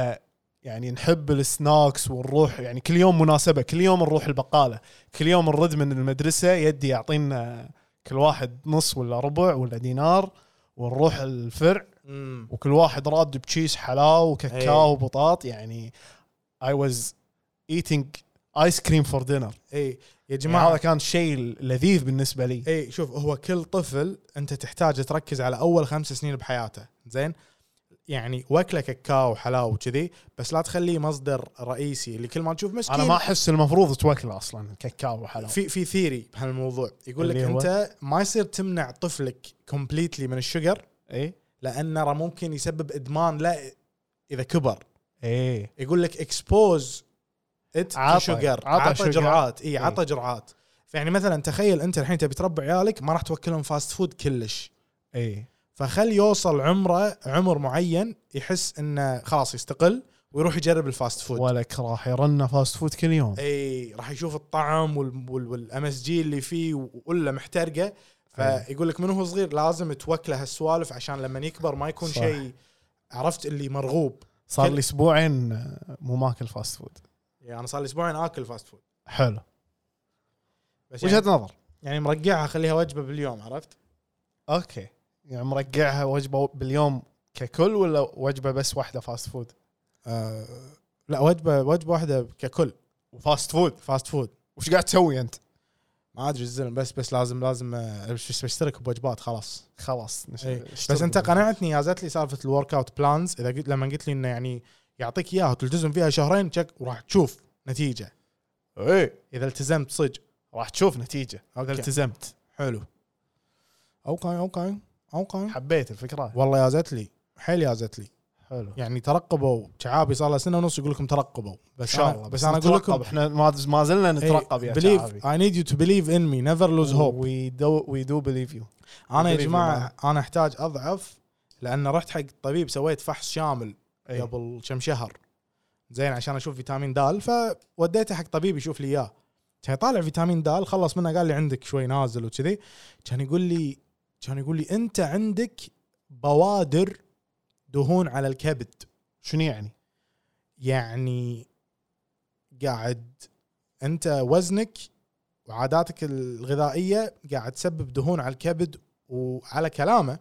يعني نحب السناكس ونروح يعني كل يوم مناسبه كل يوم نروح البقاله كل يوم نرد من المدرسه يدي يعطينا كل واحد نص ولا ربع ولا دينار ونروح الفرع
مم.
وكل واحد راد بتشيس حلاوه وكاكاو
أي.
وبطاط يعني I was eating ice cream for dinner
اي يا
يعني
جماعه
هذا كان شيء لذيذ بالنسبه لي
اي شوف هو كل طفل انت تحتاج تركز على اول خمس سنين بحياته زين يعني واكله كاكاو حلاوه وكذي بس لا تخليه مصدر رئيسي اللي كل ما تشوف مسكين
انا ما احس المفروض تواكله اصلا الكاكاو وحلاوه
في في ثيري بهالموضوع يقول لك
اللي هو؟
انت ما يصير تمنع طفلك كومبليتلي من الشجر
اي
لانه را ممكن يسبب ادمان لا اذا كبر
اي
يقول لك اكسبوز ات
إيه. عطى-
شجر
عطى إيه.
عطى
شجر.
جرعات اي عطى جرعات فيعني مثلا تخيل انت الحين تبي تربي عيالك ما راح توكلهم فاست فود كلش
اي
فخل يوصل عمره عمر معين يحس انه خلاص يستقل ويروح يجرب الفاست فود
ولك راح يرن فاست فود كل يوم
اي راح يشوف الطعم والام اس جي اللي فيه ولا محترقه فيقول لك من هو صغير لازم توكله هالسوالف عشان لما يكبر ما يكون
صح.
شيء عرفت اللي مرغوب
صار
كل-
لي اسبوعين آه، مو ماكل فاست فود
يعني انا صار لي اسبوعين اكل فاست فود
حلو
بس
وجهه
يعني,
نظر
يعني مرقعها اخليها وجبه باليوم عرفت؟
اوكي يعني مرقعها وجبه باليوم ككل ولا وجبه بس واحده فاست فود
آه لا وجبه وجبه واحده ككل
وفاست فود
فاست فود
وش قاعد تسوي انت
ما ادري الزلم بس بس لازم لازم آه، بش- بشترك بوجبات خلاص
خلاص نش-
إيه.
اشتغل
بس انت
بالبيت.
قنعتني يا زت لي سالفه الورك اوت بلانز اذا قلت لما قلت لي انه يعني يعطيك اياها وتلتزم فيها شهرين تشك وراح تشوف نتيجه
ايه
اذا التزمت صدق
راح تشوف نتيجه اذا
إيه. أوكي.
التزمت
حلو اوكي اوكي اوكي
حبيت الفكره
والله يا زت لي حيل يا زت لي
حلو
يعني ترقبوا شعابي صار له سنه ونص يقول لكم ترقبوا بس
ان شاء الله
أنا بس انا اقول لكم إيه،
احنا ما ما زلنا نترقب يا شعبي
بليف اي نيد يو تو بليف ان مي نيفر لوز هوب
وي دو وي دو بليف يو
انا يا
believe in
جماعه انا احتاج اضعف لان رحت حق الطبيب سويت فحص شامل قبل كم شهر زين عشان اشوف فيتامين دال فوديته حق طبيب يشوف لي اياه كان يطالع فيتامين دال خلص منه قال لي عندك شوي نازل وكذي كان يقول لي كان يقول لي انت عندك بوادر دهون على الكبد
شنو يعني؟
يعني قاعد انت وزنك وعاداتك الغذائيه قاعد تسبب دهون على الكبد وعلى كلامه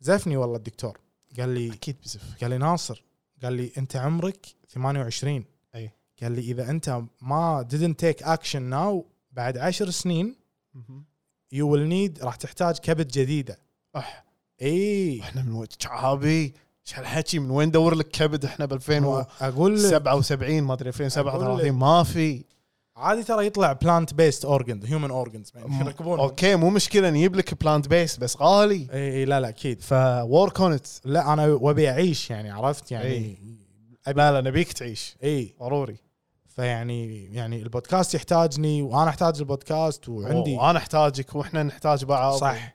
زفني والله الدكتور قال لي
اكيد بزف
قال لي ناصر قال لي انت عمرك 28
أي.
قال لي اذا انت ما didn't take action now بعد عشر سنين you will need راح تحتاج كبد جديده
أح.
اي
احنا من وجه شعبي ايش هالحكي من وين دور لك كبد احنا ب 2077
اقول لك
ما ادري 2037
أقول
ما في
عادي ترى يطلع بلانت بيست اورجنز هيومن اورجنز يركبون
اوكي مو مشكله نجيب لك بلانت بيس بس غالي
اي إي، إيه، لا لا اكيد
فورك اون ات
لا انا وابي اعيش يعني عرفت
إي.
يعني
لا لا نبيك تعيش
اي
ضروري
فيعني يعني البودكاست يحتاجني وانا احتاج البودكاست وعندي
وانا احتاجك واحنا نحتاج بعض
صح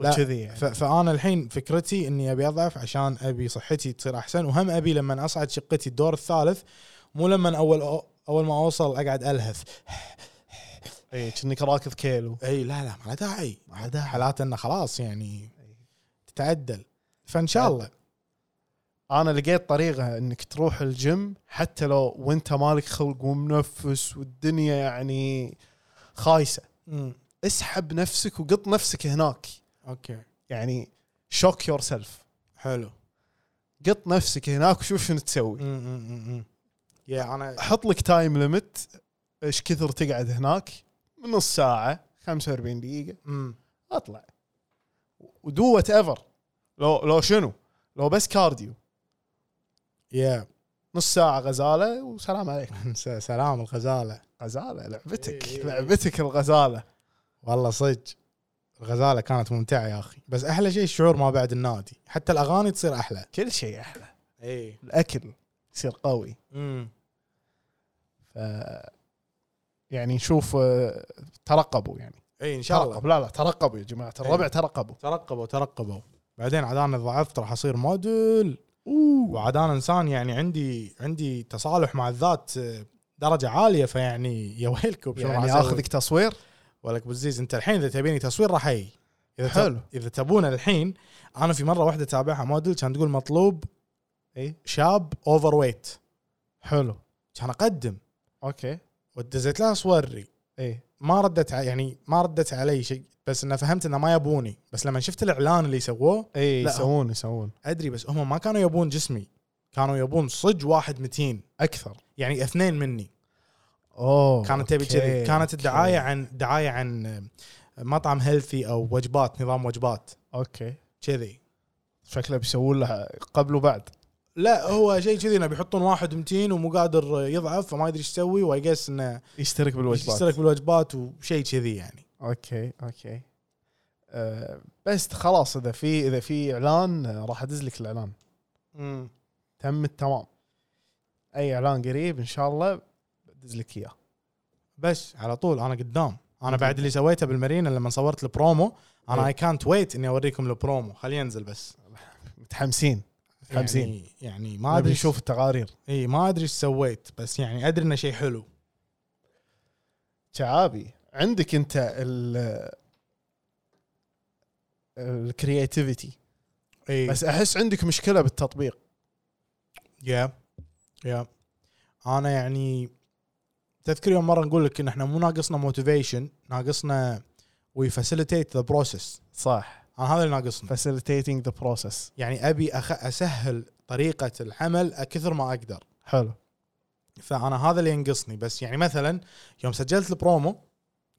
لا.
وكذي يعني
ف- فانا الحين فكرتي اني ابي اضعف عشان ابي صحتي تصير احسن وهم ابي لما اصعد شقتي الدور الثالث مو لما اول أو- اول ما اوصل اقعد الهث
اي كأنك راكض كيلو
اي لا لا ما له داعي ما له داعي حالات انه خلاص يعني تتعدل فان شاء الله
انا لقيت طريقه انك تروح الجيم حتى لو وانت مالك خلق ومنفس والدنيا يعني خايسه
مم.
اسحب نفسك وقط نفسك هناك
اوكي
يعني شوك يور سيلف
حلو
قط نفسك هناك وشوف شنو تسوي
مم، مم، مم، مم. يا انا
حط لك تايم ليميت ايش كثر تقعد هناك نص ساعه 45 دقيقه
مم.
اطلع ودو وات ايفر لو لو شنو لو بس كارديو
يا
نص ساعه غزاله وسلام عليك
س- سلام الغزاله
غزاله لعبتك
إيه.
لعبتك الغزاله
والله صدق الغزاله كانت ممتعه يا اخي بس احلى شيء الشعور ما بعد النادي حتى الاغاني تصير احلى
كل شيء احلى
اي
الاكل يصير قوي
امم
ف يعني نشوف آه، ترقبوا يعني
اي ان إيه، شاء الله
ترقب لا لا ترقبوا يا جماعه الربع
إيه.
ترقبوا
ترقبوا ترقبوا بعدين عاد انا ضعفت راح اصير موديل وعاد انا انسان يعني عندي عندي تصالح مع الذات آه، درجه عاليه فيعني يا ويلكم شو راح
يعني
أسوي؟
اخذك تصوير
ولك بوزيز انت الحين اذا تبيني تصوير راح اي اذا
حلو.
حلو. اذا تبونا الحين انا في مره واحده تابعها موديل كان تقول مطلوب
اي
شاب اوفر ويت
حلو
كان اقدم
اوكي
ودزت لها صوري
اي
ما ردت ع- يعني ما ردت علي شيء بس انه فهمت انه ما يبوني بس لما شفت الاعلان اللي سووه
اي
لا.
إيه، يسوون يسوون
ادري بس هم ما كانوا يبون جسمي كانوا يبون صج واحد متين
اكثر
يعني اثنين مني
اوه
كانت تبي
أوكي،
كذي كانت
أوكي.
الدعايه عن دعايه عن مطعم هيلثي او وجبات نظام وجبات
اوكي
كذي
شكله بيسوون لها قبل وبعد
لا هو شيء كذي انه بيحطون واحد متين ومو قادر يضعف فما يدري ايش يسوي واي جس انه
يشترك بالوجبات
يشترك بالوجبات وشيء كذي يعني
اوكي اوكي أه بس خلاص اذا في اذا في اعلان آه، راح ادز لك الاعلان تم التمام اي اعلان قريب ان شاء الله بدز لك اياه
بس على طول انا قدام انا بعد اللي سويته بالمارينا لما صورت البرومو انا
إيه.
اي كانت ويت اني اوريكم البرومو خليه ينزل بس
متحمسين متحمسين
يعني, يعني ما
نبي
ادري شوف
نشوف التقارير
اي ما ادري ايش سويت بس يعني ادري انه شيء حلو
شعابي عندك انت ال آه، الكرياتيفيتي
اي
بس
بس
احس عندك مشكله بالتطبيق
يا يا انا يعني تذكر يوم مره نقول لك ان احنا مو ناقصنا موتيفيشن ناقصنا وي فاسيليتيت ذا بروسيس
صح
انا هذا اللي ناقصنا
facilitating the process
يعني ابي أخ... اسهل طريقه العمل كثر ما اقدر
حلو
فانا هذا اللي ينقصني بس يعني مثلا يوم سجلت البرومو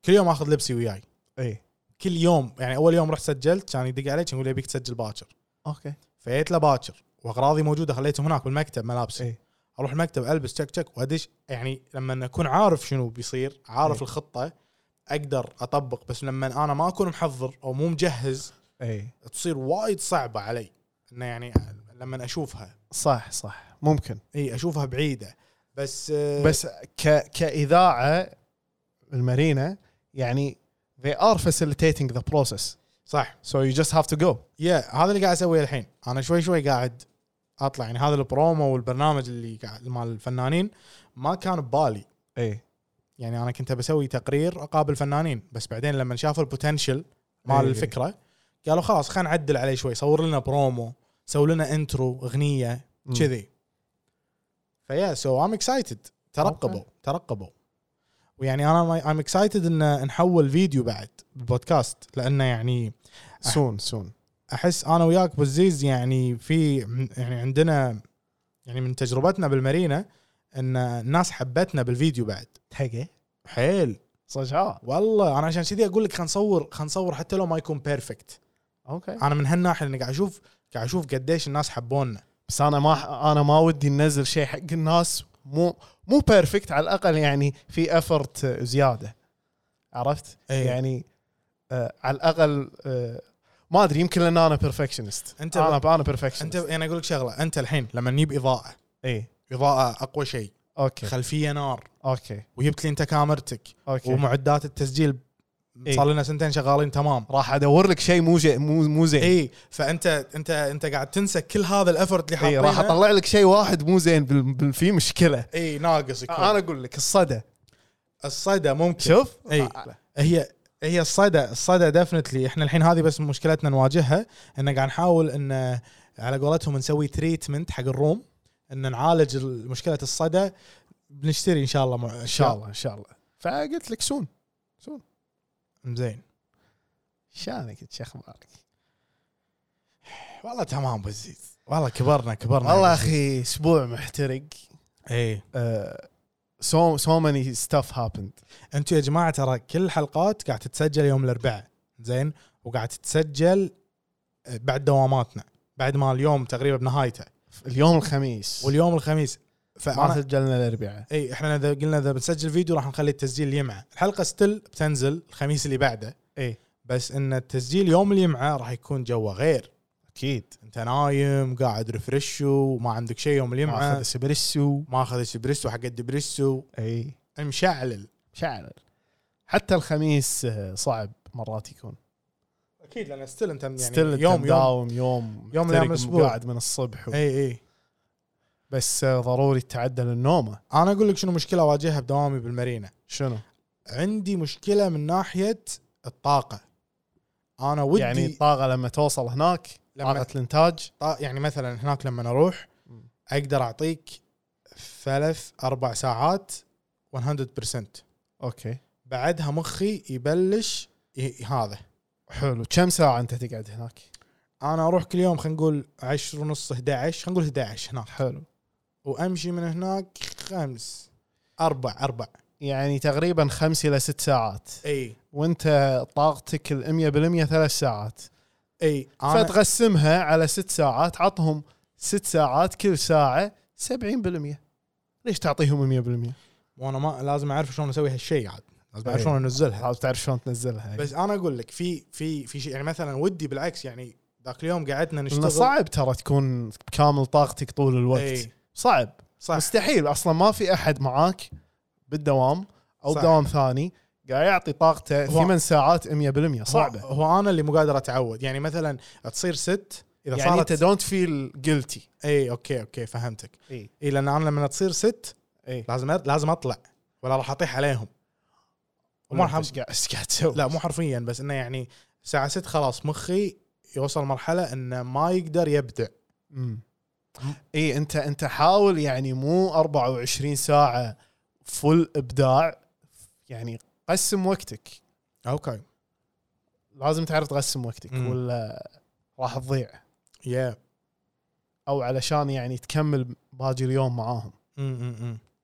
كل يوم اخذ لبسي وياي
اي
كل يوم يعني اول يوم رحت سجلت كان يدق علي كان يقول لي ابيك تسجل باكر
اوكي
فجيت له باكر واغراضي موجوده خليتهم هناك بالمكتب ملابسي
إيه.
اروح المكتب البس تشك تشك وادش يعني لما اكون عارف شنو بيصير عارف
إيه.
الخطه اقدر اطبق بس لما انا ما اكون محضر او مو مجهز
اي
تصير وايد صعبه علي انه يعني لما اشوفها
صح صح ممكن
اي اشوفها بعيده بس آه،
بس ك كاذاعه المارينا يعني they are facilitating the process
صح
so you just have to go
يا هذا اللي قاعد اسويه الحين انا شوي شوي قاعد اطلع يعني هذا البرومو والبرنامج اللي قاعد مال الفنانين ما كان ببالي
اي
يعني انا كنت بسوي تقرير اقابل فنانين بس بعدين لما شافوا البوتنشل
إيه
مال
إيه.
الفكره قالوا خلاص خلينا نعدل عليه شوي صور لنا برومو سوي لنا انترو اغنيه
مم.
كذي فيا سو ام اكسايتد ترقبوا ترقبوا ويعني انا ام اكسايتد ان نحول فيديو بعد بالبودكاست لانه يعني
سون سون
احس انا وياك بوزيز يعني في يعني عندنا يعني من تجربتنا بالمارينا ان الناس حبتنا بالفيديو بعد
حقه
حيل
صح
آه، والله انا عشان كذي اقول لك خلينا نصور خلينا نصور حتى لو ما يكون بيرفكت
اوكي
انا من هالناحيه لاني قاعد اشوف قاعد اشوف قديش الناس حبونا
بس انا ما انا ما ودي ننزل شيء حق الناس مو مو بيرفكت على الاقل يعني في افرت زياده عرفت؟
إيه.
يعني آه على الاقل آه ما ادري يمكن لان انا بيرفكشنست
أنت
انا
ب-
انا
انت
بيرفكشنست
انا اقول لك شغله انت الحين لما نجيب اضاءه
اي
اضاءه اقوى شيء
اوكي
خلفيه نار
اوكي
وجبت لي انت كاميرتك
اوكي
ومعدات التسجيل
إيه.
صار لنا سنتين شغالين تمام إيه،
راح ادور لك شيء مو جي مو مو زين
اي فانت انت انت قاعد تنسى كل هذا الافورت اللي
اي إيه، راح
حاطينه
اطلع لك شيء واحد مو زين بال- بال- في مشكله
اي ناقص يكون
انا اقول لك الصدى
الصدى ممكن
شوف آه،
إي. هي هي الصدى الصدى ديفنتلي احنا الحين هذه بس مشكلتنا نواجهها ان قاعد نحاول ان على قولتهم نسوي تريتمنت حق الروم ان نعالج ال- مشكله الصدى بنشتري ان شاء الله مع... ان
ان شاء الله ان شاء الله فقلت لك سون
زين
شانك انت شو اخبارك
والله تمام أبو عزيز والله كبرنا كبرنا إيه.
والله
يا أبو عزيز.
اخي اسبوع محترق آه،
اي
سو سو ماني ستاف هابند
انتوا يا جماعه ترى كل الحلقات قاعد تتسجل يوم الاربعاء زين وقاعد تتسجل آه، بعد دواماتنا بعد ما اليوم تقريبا بنهايته
اليوم الخميس
واليوم الخميس
ما
فانا
سجلنا الاربعاء
اي احنا اذا قلنا اذا بنسجل فيديو راح نخلي التسجيل الجمعه، الحلقه ستيل بتنزل الخميس اللي بعده
اي
بس ان التسجيل يوم الجمعه راح يكون جوه غير،
اكيد
انت نايم قاعد ريفرش وما عندك شيء يوم
ماخذ
الجمعه
اسبريسو
ماخذ اسبريسو حق الدبريسو
اي
مشعلل
شعر حتى الخميس آه، صعب مرات يكون
اكيد لان ستيل انت يعني
يعني ستيل
يوم يوم
يوم يوم محترق
يوم الأيام الأسبوع.
قاعد من الصبح و...
اي اي
بس آه، ضروري تعدل النومه
انا اقول لك شنو مشكله اواجهها بدوامي بالمارينا
شنو؟
عندي مشكله من ناحيه الطاقه انا ودي
يعني الطاقه لما توصل هناك
لما-
طاقه الانتاج
طا- يعني مثلا هناك لما اروح
مم.
اقدر اعطيك ثلاث اربع ساعات 100%
اوكي
بعدها مخي يبلش ي- هذا
حلو كم ساعه انت تقعد هناك؟
انا اروح كل يوم خلينا نقول 10 ونص 11 خلينا نقول 11 هناك
حلو
وامشي من هناك خمس اربع اربع
يعني تقريبا خمس الى ست ساعات
اي
وانت طاقتك ال 100% ثلاث ساعات
اي انا
فتقسمها على ست ساعات عطهم ست ساعات كل ساعه 70% ليش تعطيهم 100%؟
وانا ما لازم اعرف شلون اسوي هالشيء عاد لازم اعرف
إي.
شلون انزلها
حاول تعرف شلون تنزلها
بس انا اقول لك في في في شيء يعني مثلا ودي بالعكس يعني ذاك اليوم قعدنا
لأنه
نشتغل إيه.
صعب ترى تكون بكامل طاقتك طول الوقت
اي
صعب
صح
مستحيل اصلا ما في احد معاك بالدوام او
صح.
بدوام ثاني قاعد يعطي طاقته
هو-
8 ساعات 100%
صعبه
صعبه
هو انا اللي مو قادر اتعود يعني مثلا تصير ست اذا
يعني انت
صارت
دونت فيل جلتي
اي اوكي اوكي فهمتك
اي
اي لان انا لما تصير ست
اي
لازم أر- لازم اطلع ولا راح اطيح عليهم وما راح
ايش قاعد إيش قاعد تسوي؟
لا مو حرفيا بس انه يعني الساعه ست خلاص مخي يوصل مرحله انه ما يقدر يبدع
مم. اي انت انت حاول يعني مو 24 ساعه فل ابداع يعني قسم وقتك
اوكي
لازم تعرف تقسم وقتك
مم.
ولا راح تضيع
يا
او علشان يعني تكمل باقي اليوم معاهم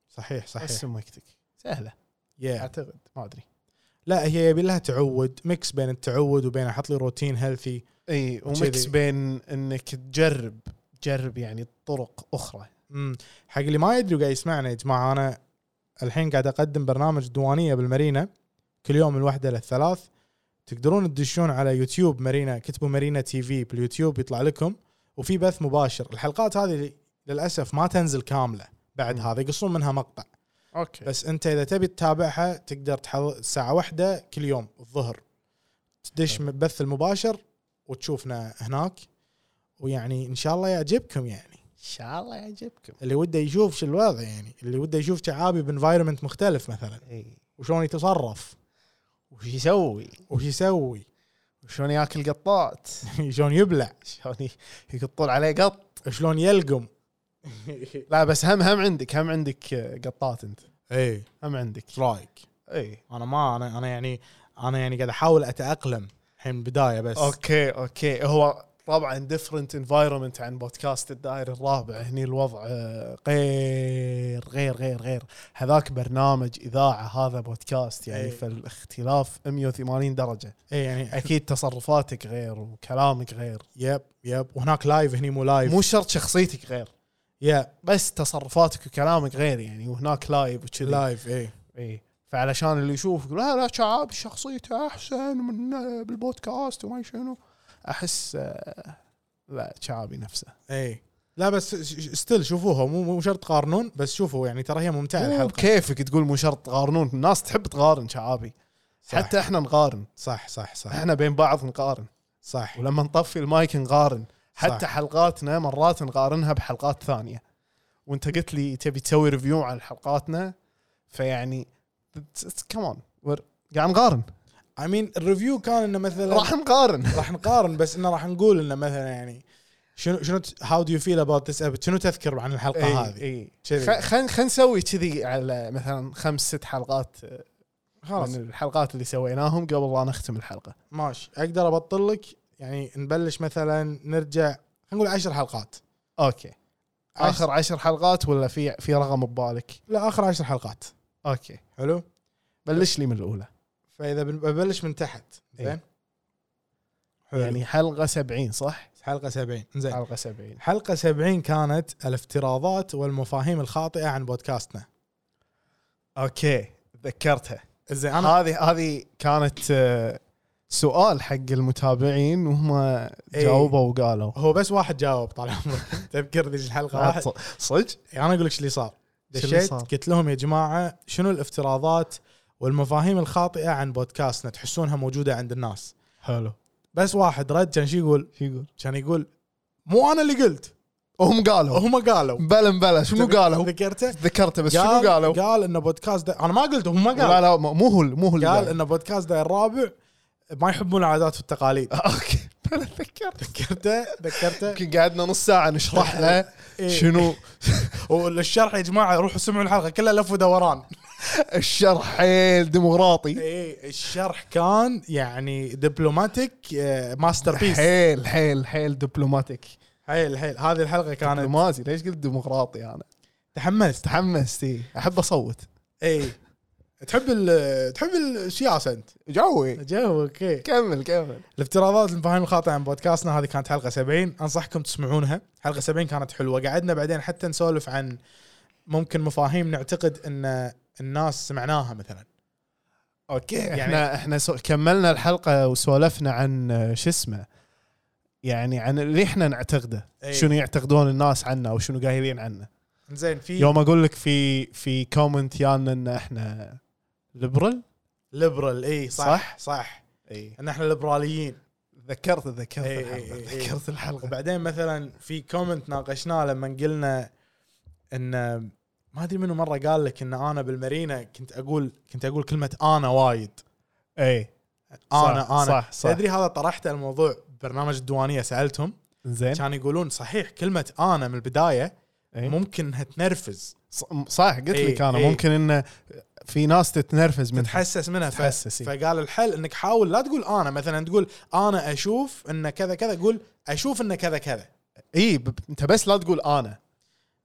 صحيح صحيح
قسم وقتك سهله
يا
اعتقد ما ادري
لا هي يبي لها تعود ميكس بين التعود وبين احط لي روتين هيلثي
اي وميكس
وكذي.
بين انك تجرب تجرب يعني طرق اخرى
امم حق اللي ما يدري وقاعد يسمعنا يا جماعه انا الحين قاعد اقدم برنامج دوانيه بالمارينا كل يوم من الواحده للثلاث تقدرون تدشون على يوتيوب مارينا كتبوا مارينا تي في باليوتيوب يطلع لكم وفي بث مباشر الحلقات هذه للاسف ما تنزل كامله بعد
مم. إيه.
هذا يقصون منها مقطع
اوكي بس
بس انت اذا تبي تتابعها تقدر تحضر الساعه واحدة كل يوم الظهر تدش من البث المباشر وتشوفنا هناك ويعني ان شاء الله يعجبكم يعني
ان شاء الله يعجبكم
اللي وده يشوف شو الوضع يعني اللي وده يشوف شعابي بانفايرمنت مختلف مثلا
اي
وشلون يتصرف
وش يسوي؟
وش يسوي
وشلون ياكل قطات؟
شلون يبلع
شلون ي- يقطون عليه قط
شلون يلقم
لا بس هم هم عندك هم عندك قطات انت
اي
هم عندك
ايش رايك
اي
انا ما انا انا يعني انا يعني قاعد احاول اتاقلم الحين بدايه بس
اوكي اوكي هو طبعا ديفرنت انفايرمنت عن بودكاست الدائري الرابع هني الوضع آه، غير غير غير غير هذاك برنامج اذاعه هذا بودكاست يعني
إيه.
فالاختلاف 180 درجه
اي يعني
اكيد تصرفاتك غير وكلامك غير
يب يب وهناك لايف هني مو لايف
مو شرط شخصيتك غير
يب
بس تصرفاتك وكلامك غير يعني وهناك لايف وكذي
لايف اي
اي فعلشان اللي يشوف يقول لا لا شعب شخصيته احسن من بالبودكاست وما شنو احس آه، لا شعبي نفسه
اي إيه. لا بس ستيل شوفوها مو مو شرط تقارنون بس شوفوا يعني ترى هي ممتعه
مو
الحلقه
كيفك تقول مو شرط تقارنون الناس تحب تقارن شعابي
صح.
حتى احنا نقارن
صح صح صح
احنا بين بعض نقارن
صح
ولما نطفي المايك نقارن حتى
صح.
حلقاتنا مرات نقارنها بحلقات ثانيه وانت قلت لي تبي تسوي ريفيو على حلقاتنا فيعني كمان قاعد نقارن
اي مين الريفيو كان انه مثلا
راح نقارن
راح نقارن بس انه راح نقول انه مثلا يعني شنو شنو هاو دو يو فيل اباوت ذس شنو تذكر عن الحلقه
اي
هذه
اي
كذي.
إيه. خ- خلينا خلينا نسوي كذي على مثلا خمس ست حلقات آه،
خلاص
من الحلقات اللي سويناهم قبل لا نختم الحلقه
ماشي اقدر ابطل لك يعني نبلش مثلا نرجع خلينا نقول عشر حلقات
اوكي اخر عشر حلقات ولا في في رقم ببالك؟
لا اخر عشر حلقات
اوكي
حلو
بلش لي من الاولى
فاذا بن- ببلش من تحت زين
إيه.
حلو.
يعني حلقه 70 صح؟
حلقه 70 زين
حلقه 70
حلقة 70 كانت الافتراضات والمفاهيم الخاطئة عن بودكاستنا.
اوكي تذكرتها
زين انا
هذه هذه كانت آه، سؤال حق المتابعين وهم
إيه.
جاوبوا وقالوا
هو بس واحد جاوب طال عمرك تذكر ذيك الحلقة واحد
عاد صدق؟
يعني انا اقول لك ايش اللي صار
إيش اللي
دشيت
صار؟
قلت لهم يا جماعه شنو الافتراضات والمفاهيم الخاطئه عن بودكاستنا تحسونها موجوده عند الناس
حلو
بس واحد رد كان شو يقول
شو يقول؟
كان يقول مو انا اللي قلت
هم قالوا
هم قالوا
بلا بلا شنو قالوا؟
ذكرته
ذكرته بس شنو قالوا؟
قال ان بودكاست دا... انا ما قلت هم
لا
قالوا
لا مو هو مو هو اللي
قال ان بودكاست دا الرابع ما يحبون العادات والتقاليد
اوكي بلا تذكرت
ذكرته ذكرته
يمكن قعدنا نص ساعه نشرح له شنو
والشرح يا جماعه روحوا سمعوا الحلقه كلها لف ودوران
الشرح حيل ديمقراطي
ايه الشرح كان يعني آه، دبلوماتيك ماستر بيس
حيل حيل حيل دبلوماتيك
حيل حيل هذه الحلقه كانت
دبلوماسي ليش قلت ديمقراطي انا؟
تحمست
تحمست إي. احب اصوت
اي تحب ال تحب السياسه انت
جوي
جو اوكي
كمل كمل
الافتراضات المفاهيم الخاطئه عن بودكاستنا هذه كانت حلقه 70 انصحكم تسمعونها حلقه 70 كانت حلوه قعدنا بعدين حتى نسولف عن ممكن مفاهيم نعتقد ان الناس سمعناها مثلا
اوكي
يعني-
احنا احنا سو... كملنا الحلقه وسولفنا عن آه، شو اسمه يعني عن اللي احنا نعتقده
إي.
شنو يعتقدون الناس عنا وشنو قايلين عنا
زين في
يوم اقول لك في في كومنت يانا ان احنا ليبرال
ليبرال اي صح
صح؟
صح, صح.
اي
ان احنا ليبراليين
تذكرت تذكرت
إي،
الحلقه
إي، إي.
تذكرت الحلقه
وبعدين مثلا في كومنت ناقشناه لما قلنا ان ما ادري منو مره قال لك ان انا بالمارينا كنت اقول كنت اقول كلمه انا وايد
اي
انا
صح،
انا
صح، صح.
تدري هذا طرحت الموضوع برنامج الديوانيه سالتهم
زين
كانوا يقولون صحيح كلمه انا من البدايه
إي.
ممكن انها تنرفز
ص- صح قلت
إي،
لك انا
إي.
ممكن انه في ناس تتنرفز من
تتحسس منها ف...
تتحسس، إيه. إي.
فقال الحل انك حاول لا تقول انا مثلا تقول انا اشوف ان كذا كذا قول اشوف ان كذا كذا
اي ب- انت بس لا تقول انا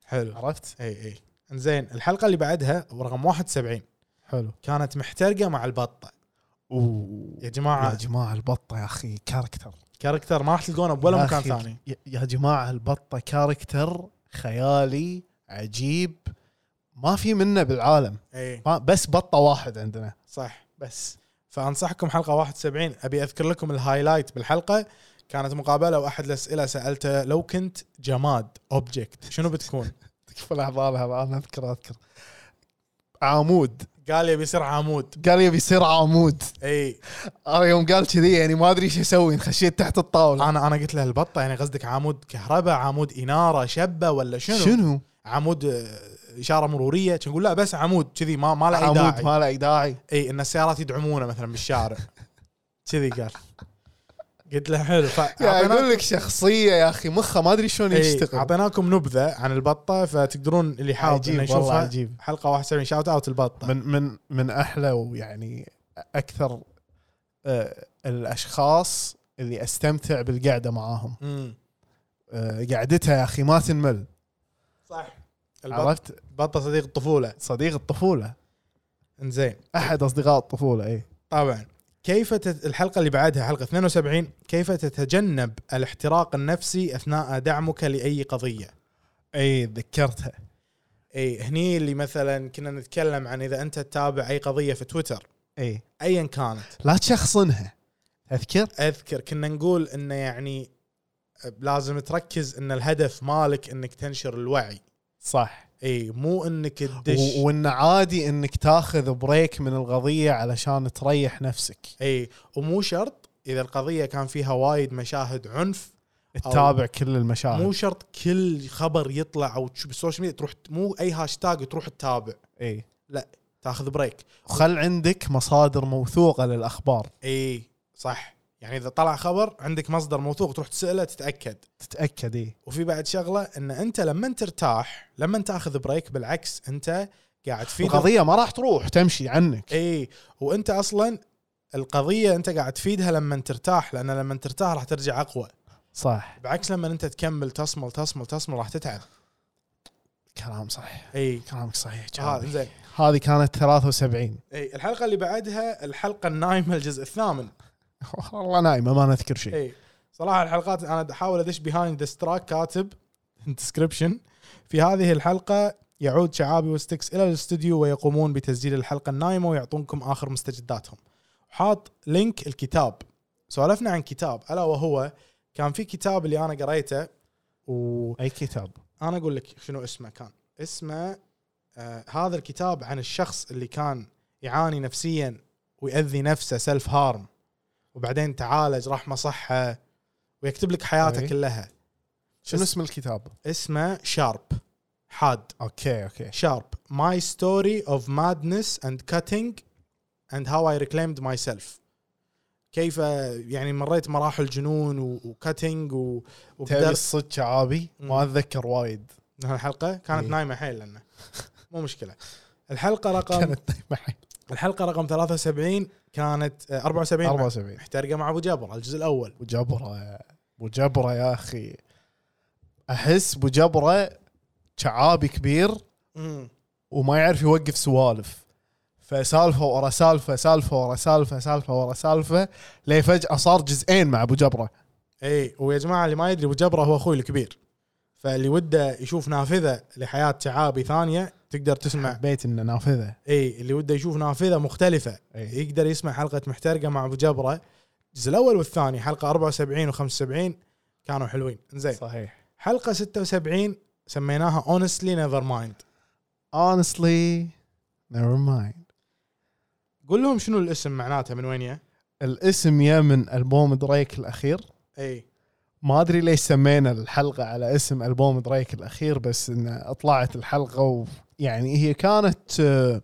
حلو
عرفت؟
اي اي زين الحلقه إيه. اللي بعدها رقم 71
حلو
كانت محترقه مع البطه يا
يا
جماعه
جماعه البطه يا اخي كاركتر
كاركتر ما راح تلقونه بولا
يا
مكان
أخي،
ثاني
ي- يا جماعه البطه كاركتر خيالي عجيب ما في منه بالعالم
اي
ما بس بطه واحد عندنا
إيه، صح
بس
فانصحكم حلقه 71 ابي اذكر لكم الهايلايت بالحلقه كانت مقابله واحد الاسئله سالته لو كنت جماد اوبجكت شنو بتكون؟
تكفى لحظه هذا انا اذكر اذكر عمود
قال يبي يصير عمود
قال يبي يصير عمود
اي
انا يوم قال كذي يعني ما ادري ايش اسوي خشيت تحت الطاوله
انا انا قلت له البطه يعني قصدك عمود كهرباء عمود اناره شبه ولا شنو؟
شنو؟
عمود آه، اشاره مروريه كان نقول لا بس عمود كذي ما ما له اي
عمود
داعي
ما له اي داعي
اي ان السيارات يدعمونه مثلا بالشارع كذي قال قلت له حلو
يعني
فاعطيناك
اقول لك شخصيه يا اخي مخه ما ادري شلون
إيه،
يشتغل
اعطيناكم نبذه عن البطه فتقدرون اللي حاب
عجيب،
انه
والله
يشوفها طيب.
عجيب.
حلقه 71 شاوت اوت البطه
من من من احلى ويعني اكثر آه، الاشخاص اللي استمتع بالقعده معاهم
امم
أه، قعدتها يا اخي ما تنمل
صح البط
عرفت
بطه صديق الطفوله
صديق الطفوله
انزين
احد اصدقاء الطفوله اي
طبعا كيف تت... الحلقه اللي بعدها حلقه 72 كيف تتجنب الاحتراق النفسي اثناء دعمك لاي قضيه
اي ذكرتها
اي إيه، هني اللي مثلا كنا نتكلم عن اذا انت تتابع اي قضيه في تويتر
اي
ايا كانت
لا تشخصنها اذكر
اذكر كنا نقول انه يعني لازم تركز ان الهدف مالك انك تنشر الوعي
صح
اي مو انك تدش
و- وان عادي انك تاخذ بريك من القضيه علشان تريح نفسك
اي إيه، ومو شرط اذا القضيه كان فيها وايد مشاهد عنف
تتابع كل المشاهد
مو شرط كل خبر يطلع او تشوف بالسوشيال ميديا تروح مو اي هاشتاج تروح تتابع
اي
تاخذ بريك
خل عندك مصادر موثوقه للاخبار
اي صح يعني اذا طلع خبر عندك مصدر موثوق تروح تساله تتاكد
تتاكد اي
وفي بعد شغله ان انت لما ترتاح لما تاخذ بريك بالعكس انت قاعد في
القضيه ما راح تروح تمشي عنك
اي وانت اصلا القضيه انت قاعد تفيدها لما ترتاح لان لما ترتاح راح ترجع اقوى
صح
بعكس لما انت تكمل تصمل تصمل تصمل راح تتعب
كلام صحيح
اي
كلامك صحيح
هذا
جابر.
زين
هذه كانت 73
اي الحلقه اللي بعدها الحلقه النايمه الجزء الثامن
والله نايمه ما نذكر شيء
اي صراحه إيه. الحلقات انا احاول ادش بيهايند ذا ستراك كاتب ديسكربشن في هذه الحلقه يعود شعابي وستكس الى الاستوديو ويقومون بتسجيل الحلقه النايمه ويعطونكم اخر مستجداتهم حاط لينك الكتاب سولفنا عن كتاب الا وهو كان في كتاب اللي انا قريته وانا
اي كتاب
اقول لك شنو اسمه كان اسمه آه هذا الكتاب عن الشخص اللي كان يعاني نفسيا ويأذي نفسه سيلف هارم وبعدين تعالج رحمه صحه ويكتب لك حياته
أي.
كلها
شنو
اس-
اسم الكتاب؟
اسمه شارب حاد
اوكي اوكي
شارب ماي ستوري اوف مادنس اند كاتنج اند هاو اي ريكليمد ماي سيلف كيف يعني مريت مراحل جنون وكاتنج
تبي
وقدرت
الصدق شعابي ما اتذكر وايد
الحلقه كانت
إيه.
نايمه حيل لنا مو مشكله الحلقه رقم
كانت معي
الحلقه رقم 73 كانت آه، 74 مع-
74
محترقه مع ابو جابر الجزء الاول
ابو جبره ابو جبره يا اخي احس ابو جبره شعابي كبير وما يعرف يوقف سوالف فسالفه ورا سالفه سالفه ورا سالفه سالفه ورا سالفه ليه فجاه صار جزئين مع ابو جبره
اي إيه، ويا جماعه اللي ما يدري ابو جبره هو اخوي الكبير فاللي وده يشوف نافذه لحياه شعابي ثانيه تقدر تسمع
حبيت انه نافذه
اي اللي وده يشوف نافذه مختلفه
إي.
يقدر يسمع حلقه محترقه مع ابو جبره الجزء الاول والثاني حلقه 74 و75 كانوا حلوين زين
صحيح
حلقه 76 سميناها اونستلي نيفر مايند
honestly never mind
قول لهم شنو الاسم معناته من وين يا
الاسم يا من البوم دريك الاخير
اي
ما ادري ليش سمينا الحلقه على اسم البوم دريك الاخير بس انه طلعت الحلقه ويعني يعني هي كانت آه،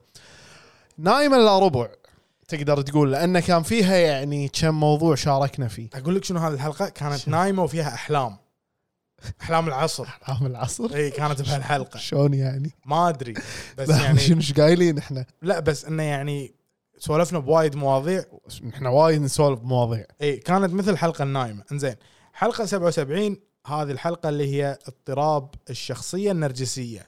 نايمه لا ربع تقدر تقول لان كان فيها يعني كم موضوع شاركنا فيه
اقول لك شنو هذه الحلقه كانت نايمه وفيها احلام احلام العصر
عام العصر
اي كانت بهالحلقه
شلون يعني؟
ما ادري بس
لا يعني
يعني
شنو إيش قايلين احنا؟
لا بس انه يعني سولفنا بوايد مواضيع
احنا وايد نسولف بمواضيع
اي كانت مثل الحلقه النايمه انزين حلقه 77 هذه الحلقه اللي هي اضطراب الشخصيه النرجسيه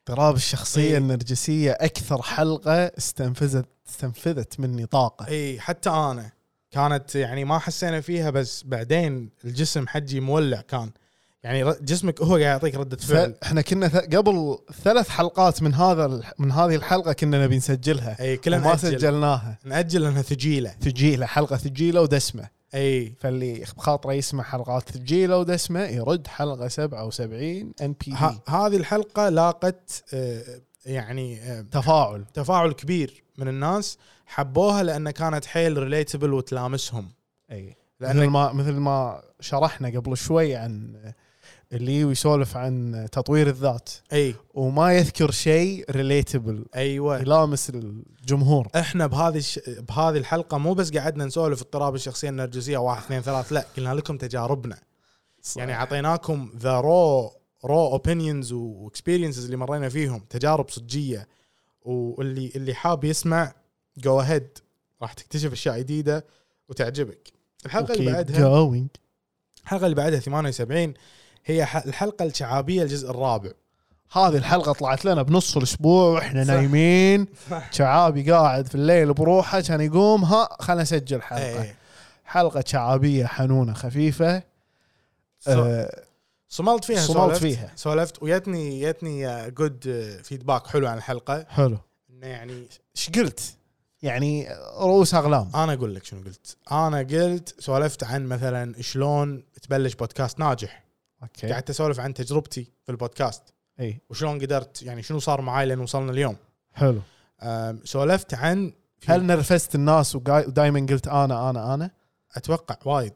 اضطراب
إيه.
الشخصيه النرجسيه اكثر حلقه استنفذت استنفذت مني طاقه
اي حتى انا كانت يعني ما حسينا فيها بس بعدين الجسم حجي مولع كان يعني ر- جسمك هو قاعد يعطيك رده فعل
فاحنا كنا ث- قبل ثلاث حلقات من هذا الح- من هذه الحلقه كنا نبي نسجلها
اي كلنا
ما
نأجل
سجلناها
نأجل لانها ثقيله
ثجيله حلقه ثجيله ودسمه
اي
فاللي بخاطره يسمع حلقات ثجيله ودسمه يرد حلقه 77 ان بي
ه- هذه الحلقه لاقت آه، يعني آه،
تفاعل
تفاعل كبير من الناس حبوها لان كانت حيل ريليتبل وتلامسهم
اي
لأنك-
مثل ما مثل ما شرحنا قبل شوي عن اللي يسولف عن تطوير الذات
اي
وما يذكر شيء ريليتبل
ايوه
يلامس الجمهور
احنا بهذه الش... بهذه الحلقه مو بس قعدنا نسولف اضطراب الشخصيه النرجسيه واحد اثنين ثلاث لا قلنا لكم تجاربنا يعني اعطيناكم ذا رو رو اوبينيونز واكسبيرينسز اللي مرينا فيهم تجارب صجيه واللي اللي حاب يسمع جو اهيد راح تكتشف اشياء جديده وتعجبك الحلقه اللي
Keep
بعدها
going.
الحلقه اللي بعدها 78 هي ح- الحلقه الشعابيه الجزء الرابع
هذه الحلقه طلعت لنا بنص الاسبوع واحنا
صح.
نايمين
صح.
شعابي قاعد في الليل بروحه كان يقوم ها خلنا نسجل حلقه
إيه.
حلقه شعابيه حنونه خفيفه آه
صملت فيها
صملت
سولفت-
فيها.
سولفت ويتني يتني جود فيدباك حلو عن الحلقه
حلو
انه يعني
ايش قلت؟ يعني رؤوس اغلام
انا اقول لك شنو قلت انا قلت سولفت عن مثلا شلون تبلش بودكاست ناجح
اوكي
قعدت اسولف عن تجربتي في البودكاست
اي
وشلون قدرت يعني شنو صار معاي لين وصلنا اليوم
حلو
أم، سولفت عن في-
هل نرفزت الناس ودائما قلت انا انا انا
اتوقع وايد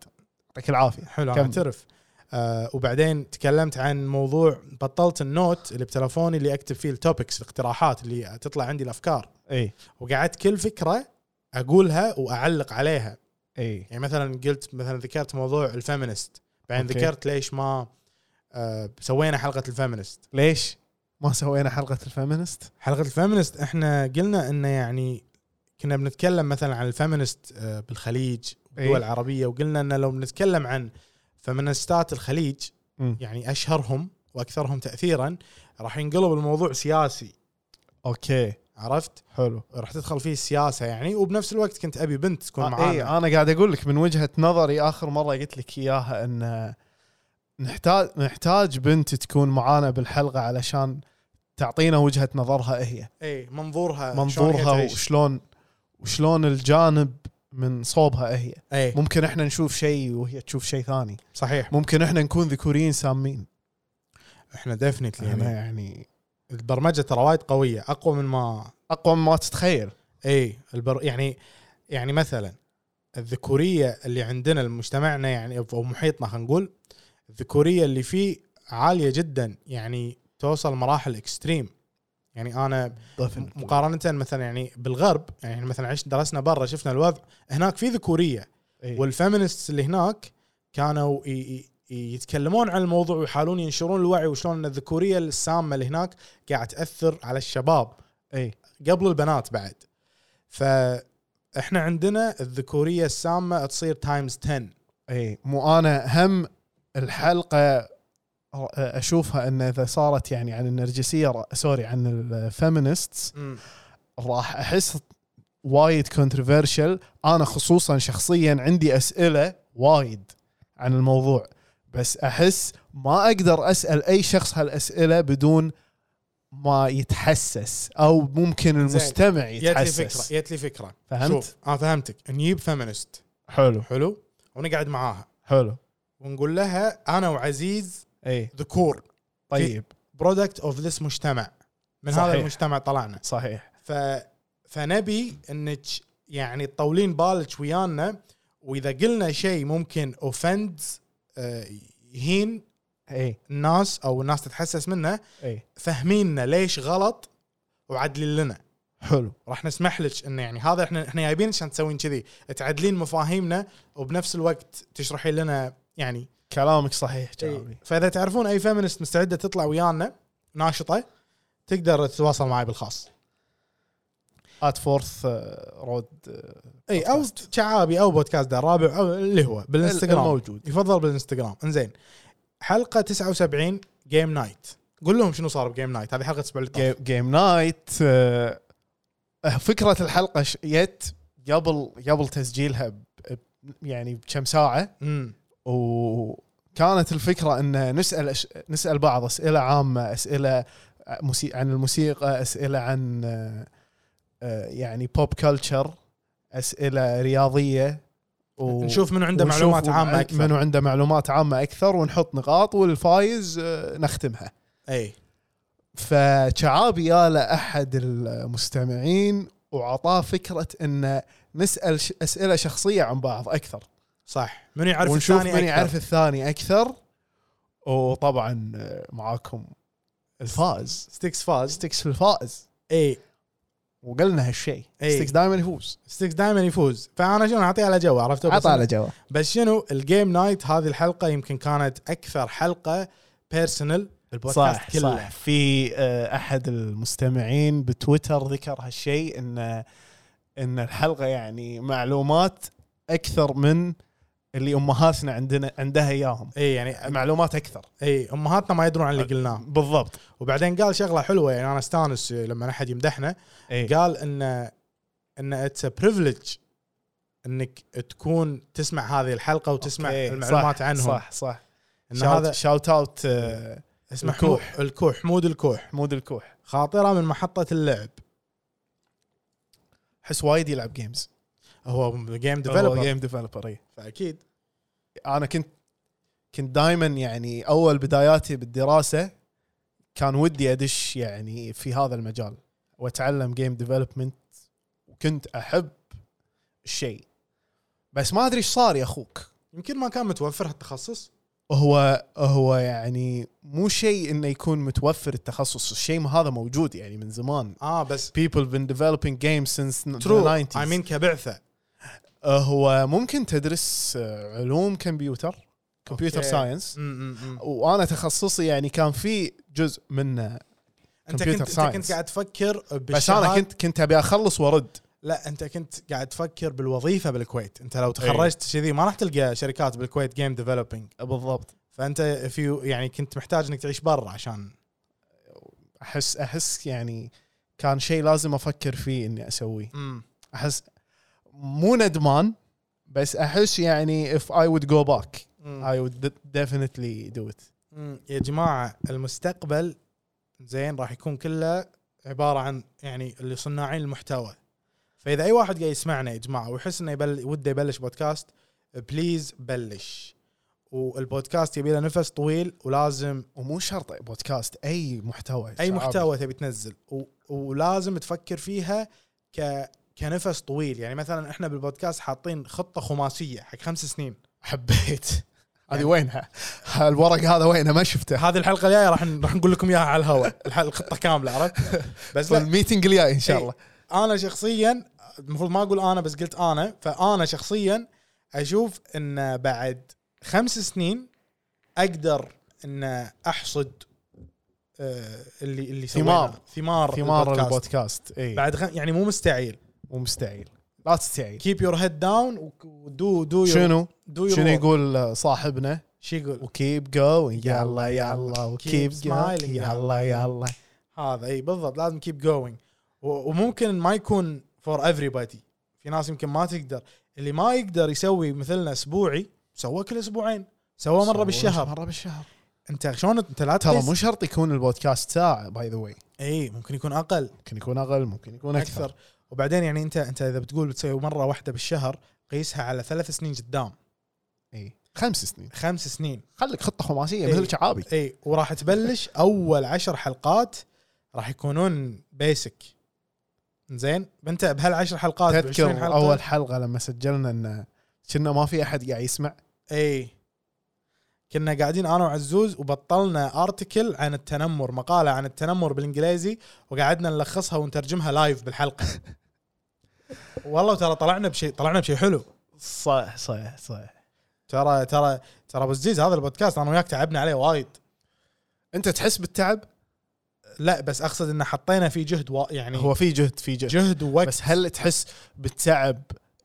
يعطيك العافيه
حلو انا
كمل.
اعترف أه وبعدين تكلمت عن موضوع بطلت النوت اللي بتلفوني اللي اكتب فيه التوبكس الاقتراحات اللي تطلع عندي الافكار
اي
وقعدت كل فكره اقولها واعلق عليها
اي
يعني مثلا قلت مثلا ذكرت موضوع الفيمينست بعدين
أوكي.
ذكرت ليش ما آه سوينا حلقه الفيمينست
ليش ما سوينا حلقه الفيمينست؟
حلقه الفيمينست احنا قلنا انه يعني كنا بنتكلم مثلا عن الفيمينست آه بالخليج والدول
إيه.
العربيه وقلنا انه لو بنتكلم عن فيمينستات الخليج
مم.
يعني اشهرهم واكثرهم تاثيرا راح ينقلب الموضوع سياسي
اوكي
عرفت
حلو
راح تدخل فيه السياسه يعني وبنفس الوقت كنت ابي بنت تكون
آه،
معانا
اي انا قاعد اقول لك من وجهه نظري اخر مره قلت لك اياها ان آه، نحتاج نحتاج بنت تكون معانا بالحلقه علشان تعطينا وجهه نظرها هي
اي إيه، منظورها آه، شلون هي
منظورها
تعيش.
وشلون وشلون الجانب من صوبها هي
اي
ممكن احنا نشوف شيء وهي تشوف شيء ثاني
إيه، صحيح
ممكن احنا نكون ذكوريين سامين
احنا ديفنتلي
انا
يعني
يعني
البرمجه ترى وايد قويه اقوى من ما
اقوى مما تتخيل
اي البر يعني يعني مثلا الذكوريه اللي عندنا مجتمعنا يعني او محيطنا خلينا نقول الذكوريه اللي فيه عاليه جدا يعني توصل مراحل اكستريم يعني انا مقارنه مثلا يعني بالغرب يعني مثلا عشت درسنا برا شفنا الوضع هناك في ذكوريه
إيه.
والفيمنستس اللي هناك كانوا ي- ي- ي- يتكلمون عن الموضوع ويحاولون ينشرون الوعي وشلون ان الذكوريه السامه اللي هناك قاعد تاثر على الشباب
اي
قبل البنات بعد فاحنا عندنا الذكوريه السامه تصير تايمز 10
اي إيه. مو انا هم الحلقه اشوفها ان اذا صارت يعني عن النرجسيه را- سوري عن الفيمينست راح احس وايد كونتروفيرشل انا خصوصا شخصيا عندي اسئله وايد عن الموضوع بس احس ما اقدر اسال اي شخص هالاسئله بدون ما يتحسس او ممكن المستمع
جت لي فكره
يتحسس
جت لي فكره
فهمت؟
شوف انا آه، فهمتك نجيب فيمنست
حلو
حلو ونقعد معاها
حلو
ونقول لها انا وعزيز
اي
ذكور
إيه، طيب
برودكت اوف ذس مجتمع من هذا
صحيح.
المجتمع طلعنا
صحيح
ف فنبي انك يعني تطولين بالك ويانا واذا قلنا شيء ممكن اوفند يهين
اي
الناس او الناس تتحسس منه
اي
فهمينا ليش غلط وعدلين لنا
حلو
راح نسمح لك انه يعني هذا احنا احنا جايبين عشان تسوين كذي تعدلين مفاهيمنا وبنفس الوقت تشرحين لنا يعني
كلامك صحيح جابي
فاذا تعرفون اي فيمنست مستعده تطلع ويانا ناشطه تقدر تتواصل معي بالخاص
ات فورث رود
اي او شعابي او بودكاست الرابع او اللي هو بالانستغرام
الموجود.
يفضل بالانستغرام انزين حلقه 79 جيم نايت قول لهم شنو صار بجيم نايت هذه حلقه
طيب.
الاسبوع اللي طاف.
جيم نايت آه، فكره الحلقه ش- جت قبل قبل تسجيلها ب- ب- يعني بكم ساعه
امم
وكانت الفكره ان نسال أش- نسال بعض اسئله عامه اسئله موسي- عن الموسيقى اسئله عن آه، آه، يعني بوب كلتشر اسئله رياضيه و-
نشوف من عنده
ونشوف
معلومات
من-
عامه اكثر
منو عنده معلومات عامه اكثر ونحط نقاط والفايز آه، نختمها
اي
فشعابي ياله احد المستمعين وعطاه فكره ان نسال ش- اسئله شخصيه عن بعض اكثر
صح من يعرف
ونشوف
الثاني
من
أكثر.
يعرف الثاني اكثر وطبعا آه، معاكم الفائز
ستيكس فاز
ستيكس الفائز
اي
وقلنا هالشيء
إي.
ستيكس دائما يفوز
ستيكس دائما يفوز فانا شنو اعطيه على جو عرفت بس,
عطى على جواب
بس شنو الجيم نايت هذه الحلقه يمكن كانت اكثر حلقه بيرسونال بالبودكاست
صح
كله
صح في آه، احد المستمعين بتويتر ذكر هالشيء ان ان الحلقه يعني معلومات اكثر من اللي امهاتنا عندنا عندها اياهم
اي يعني
معلومات اكثر
اي امهاتنا ما يدرون عن اللي قلناه
بالضبط
وبعدين قال شغله حلوه يعني انا استانس لما احد يمدحنا
اي
قال ان ان اتس بريفليج انك تكون تسمع هذه الحلقه وتسمع
أوكي،
المعلومات
صح
عنهم
صح صح
ان هذا
شاوت اوت الكوح.
اسمه الكوح الكوح حمود الكوح
حمود الكوح
خاطره من محطه اللعب
احس وايد يلعب جيمز
هو جيم
ديفلوبر
ديفلوبر
جيم ديفلوبر اي
فاكيد
انا كنت كنت دائما يعني اول بداياتي بالدراسه كان ودي ادش يعني في هذا المجال واتعلم جيم ديفلوبمنت وكنت احب الشيء بس ما ادري ايش صار يا اخوك
يمكن ما كان متوفر هالتخصص
هو هو يعني مو شيء انه يكون متوفر التخصص الشيء هذا موجود يعني من زمان
اه بس
people been developing games since
ترو
the
اي
90s
مين كبعثه
هو ممكن تدرس آه، علوم كمبيوتر كمبيوتر
أوكي.
ساينس
م- م- م.
وانا تخصصي يعني كان في جزء منه
انت
كمبيوتر
كنت انت
ساينس.
كنت قاعد تفكر
بس انا
بالشهادة
كنت كنت ابي اخلص وارد
لا انت كنت قاعد تفكر بالوظيفه بالكويت انت
إيه.
لو تخرجت كذي ما راح تلقى شركات بالكويت جيم ديفلوبينج
بالضبط
فانت في يعني كنت محتاج انك تعيش برا عشان
احس احس يعني كان شيء لازم افكر فيه اني اسويه
امم
احس مو ندمان بس احس يعني if I would go back I would de- definitely do it
مم. يا جماعه المستقبل زين راح يكون كله عباره عن يعني اللي صناعين المحتوى فاذا اي واحد قاعد يسمعنا يا جماعه ويحس انه يبل... وده يبلش بودكاست بليز بلش والبودكاست يبي له نفس طويل ولازم
ومو شرط بودكاست اي محتوى
اي
شعابي.
محتوى تبي تنزل و... ولازم تفكر فيها ك كنفس طويل يعني مثلا احنا بالبودكاست حاطين خطه خماسيه حق خمس سنين
حبيت هذه وينها الورق هذا وينه ما شفته
هذه الحلقه الجايه راح ن- راح نقول لكم اياها على الهواء الح- الخطه كامله عرفت بس لا إيه،
الميتنج الجاي ان شاء
إي.
الله
انا شخصيا المفروض ما اقول انا بس قلت انا فانا شخصيا اشوف ان بعد خمس سنين اقدر ان احصد آه، اللي اللي
ثمار.
سويناه. ثمار
ثمار البودكاست اي
بعد خم... يعني مو مستعجل
مو مستحيل لا تستعيل
كيب يور هيد داون ودو دو
شنو
دو
شنو يقول صاحبنا
شو يقول
وكيب جوينج
يلا،
يلا
يلا،
يلا
keep
وكيب
smiling،
جوينج يلا يلا
هذا اي بالضبط لازم كيب جوينج وممكن ما يكون فور everybody في ناس يمكن ما تقدر اللي ما يقدر يسوي مثلنا اسبوعي سوى كل اسبوعين سوى مره بالشهر
مره بالشهر
انت شلون انت لا
ترى
تحس-
مو شرط يكون البودكاست ساعه باي ذا واي
اي ممكن يكون اقل
ممكن يكون اقل ممكن يكون
اكثر,
اكثر
أكثر. وبعدين يعني انت انت اذا بتقول بتسوي مره واحده بالشهر قيسها على ثلاث سنين قدام
اي خمس سنين
خمس سنين
خليك خطه خماسيه
إي.
مثل شعابي
اي وراح تبلش اول عشر حلقات راح يكونون بيسك زين انت بهالعشر حلقات بعشرين
تذكر
حلقه
اول حلقه لما سجلنا ان كنا ما في احد قاعد يسمع
اي إيه. كنا قاعدين انا وعزوز وبطلنا ارتكل عن التنمر مقاله عن التنمر بالانجليزي وقعدنا نلخصها ونترجمها لايف بالحلقه والله ترى طلعنا بشيء طلعنا بشيء حلو
صح صح صح
ترى ترى ترى ابو عزيز هذا البودكاست انا وياك تعبنا عليه وايد
انت تحس بالتعب
لا بس اقصد ان حطينا فيه جهد و... يعني
هو في جهد في جهد
جهد ووقت
بس هل تحس بالتعب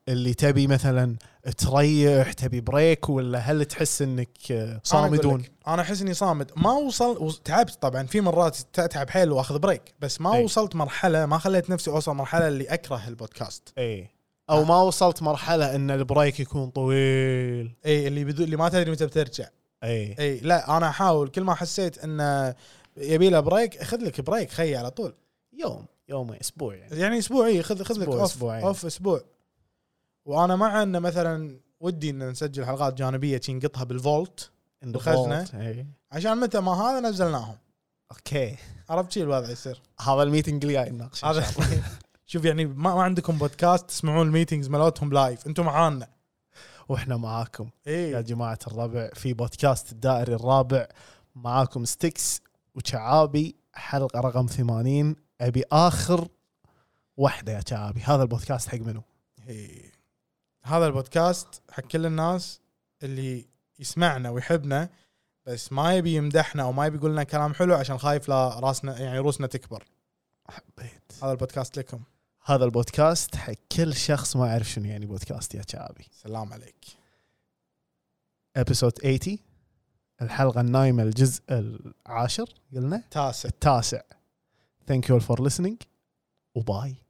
اللي تبي مثلا تريح تبي بريك ولا هل تحس انك آه، صامدون
أقول لك، انا احس اني صامد ما وصل وص- تعبت طبعا في مرات تعب حيل واخذ بريك بس ما
أي.
وصلت مرحله ما خليت نفسي اوصل مرحله اللي اكره البودكاست
اي
أه.
او إيه. ما وصلت مرحله ان البريك يكون طويل إيه.
اي إيه، اللي بدو اللي ما تدري متى بترجع
اي
اي لا انا احاول كل ما حسيت انه يبي له بريك خذ لك بريك خي على طول
يوم يوم اسبوع يعني
يعني اسبوع اي خذ خذ لك
أسبوع،
اوف
أسبوعين.
اوف اسبوع وانا مع انه مثلا ودي ان نسجل حلقات جانبيه شي نقطها بالفولت الخزنة.
اي
عشان متى ما هذا نزلناهم
اوكي
عرفت شي الوضع يصير
هذا الميتنج اللي جاي نناقشه إن شاء
هذا شوف يعني ما, ما عندكم بودكاست تسمعون الميتينجز مالتهم لايف انتم معانا
الله. واحنا معاكم يا
اي
جماعه الربع في بودكاست الدائري الرابع معاكم ستيكس وشعابي حلقه رقم 80 ابي اخر واحده يا شعابي هذا البودكاست حق منو؟
إي. هذا البودكاست حق كل الناس اللي يسمعنا ويحبنا بس ما يبي يمدحنا او ما يبي يقول لنا كلام حلو عشان خايف لا راسنا يعني روسنا تكبر
حبيت
هذا البودكاست لكم
هذا البودكاست حق كل شخص ما يعرف شنو يعني بودكاست يا شعابي
سلام عليك
ابيسود 80 الحلقه النايمه الجزء العاشر قلنا
تاسع
التاسع ثانك يو فور listening وباي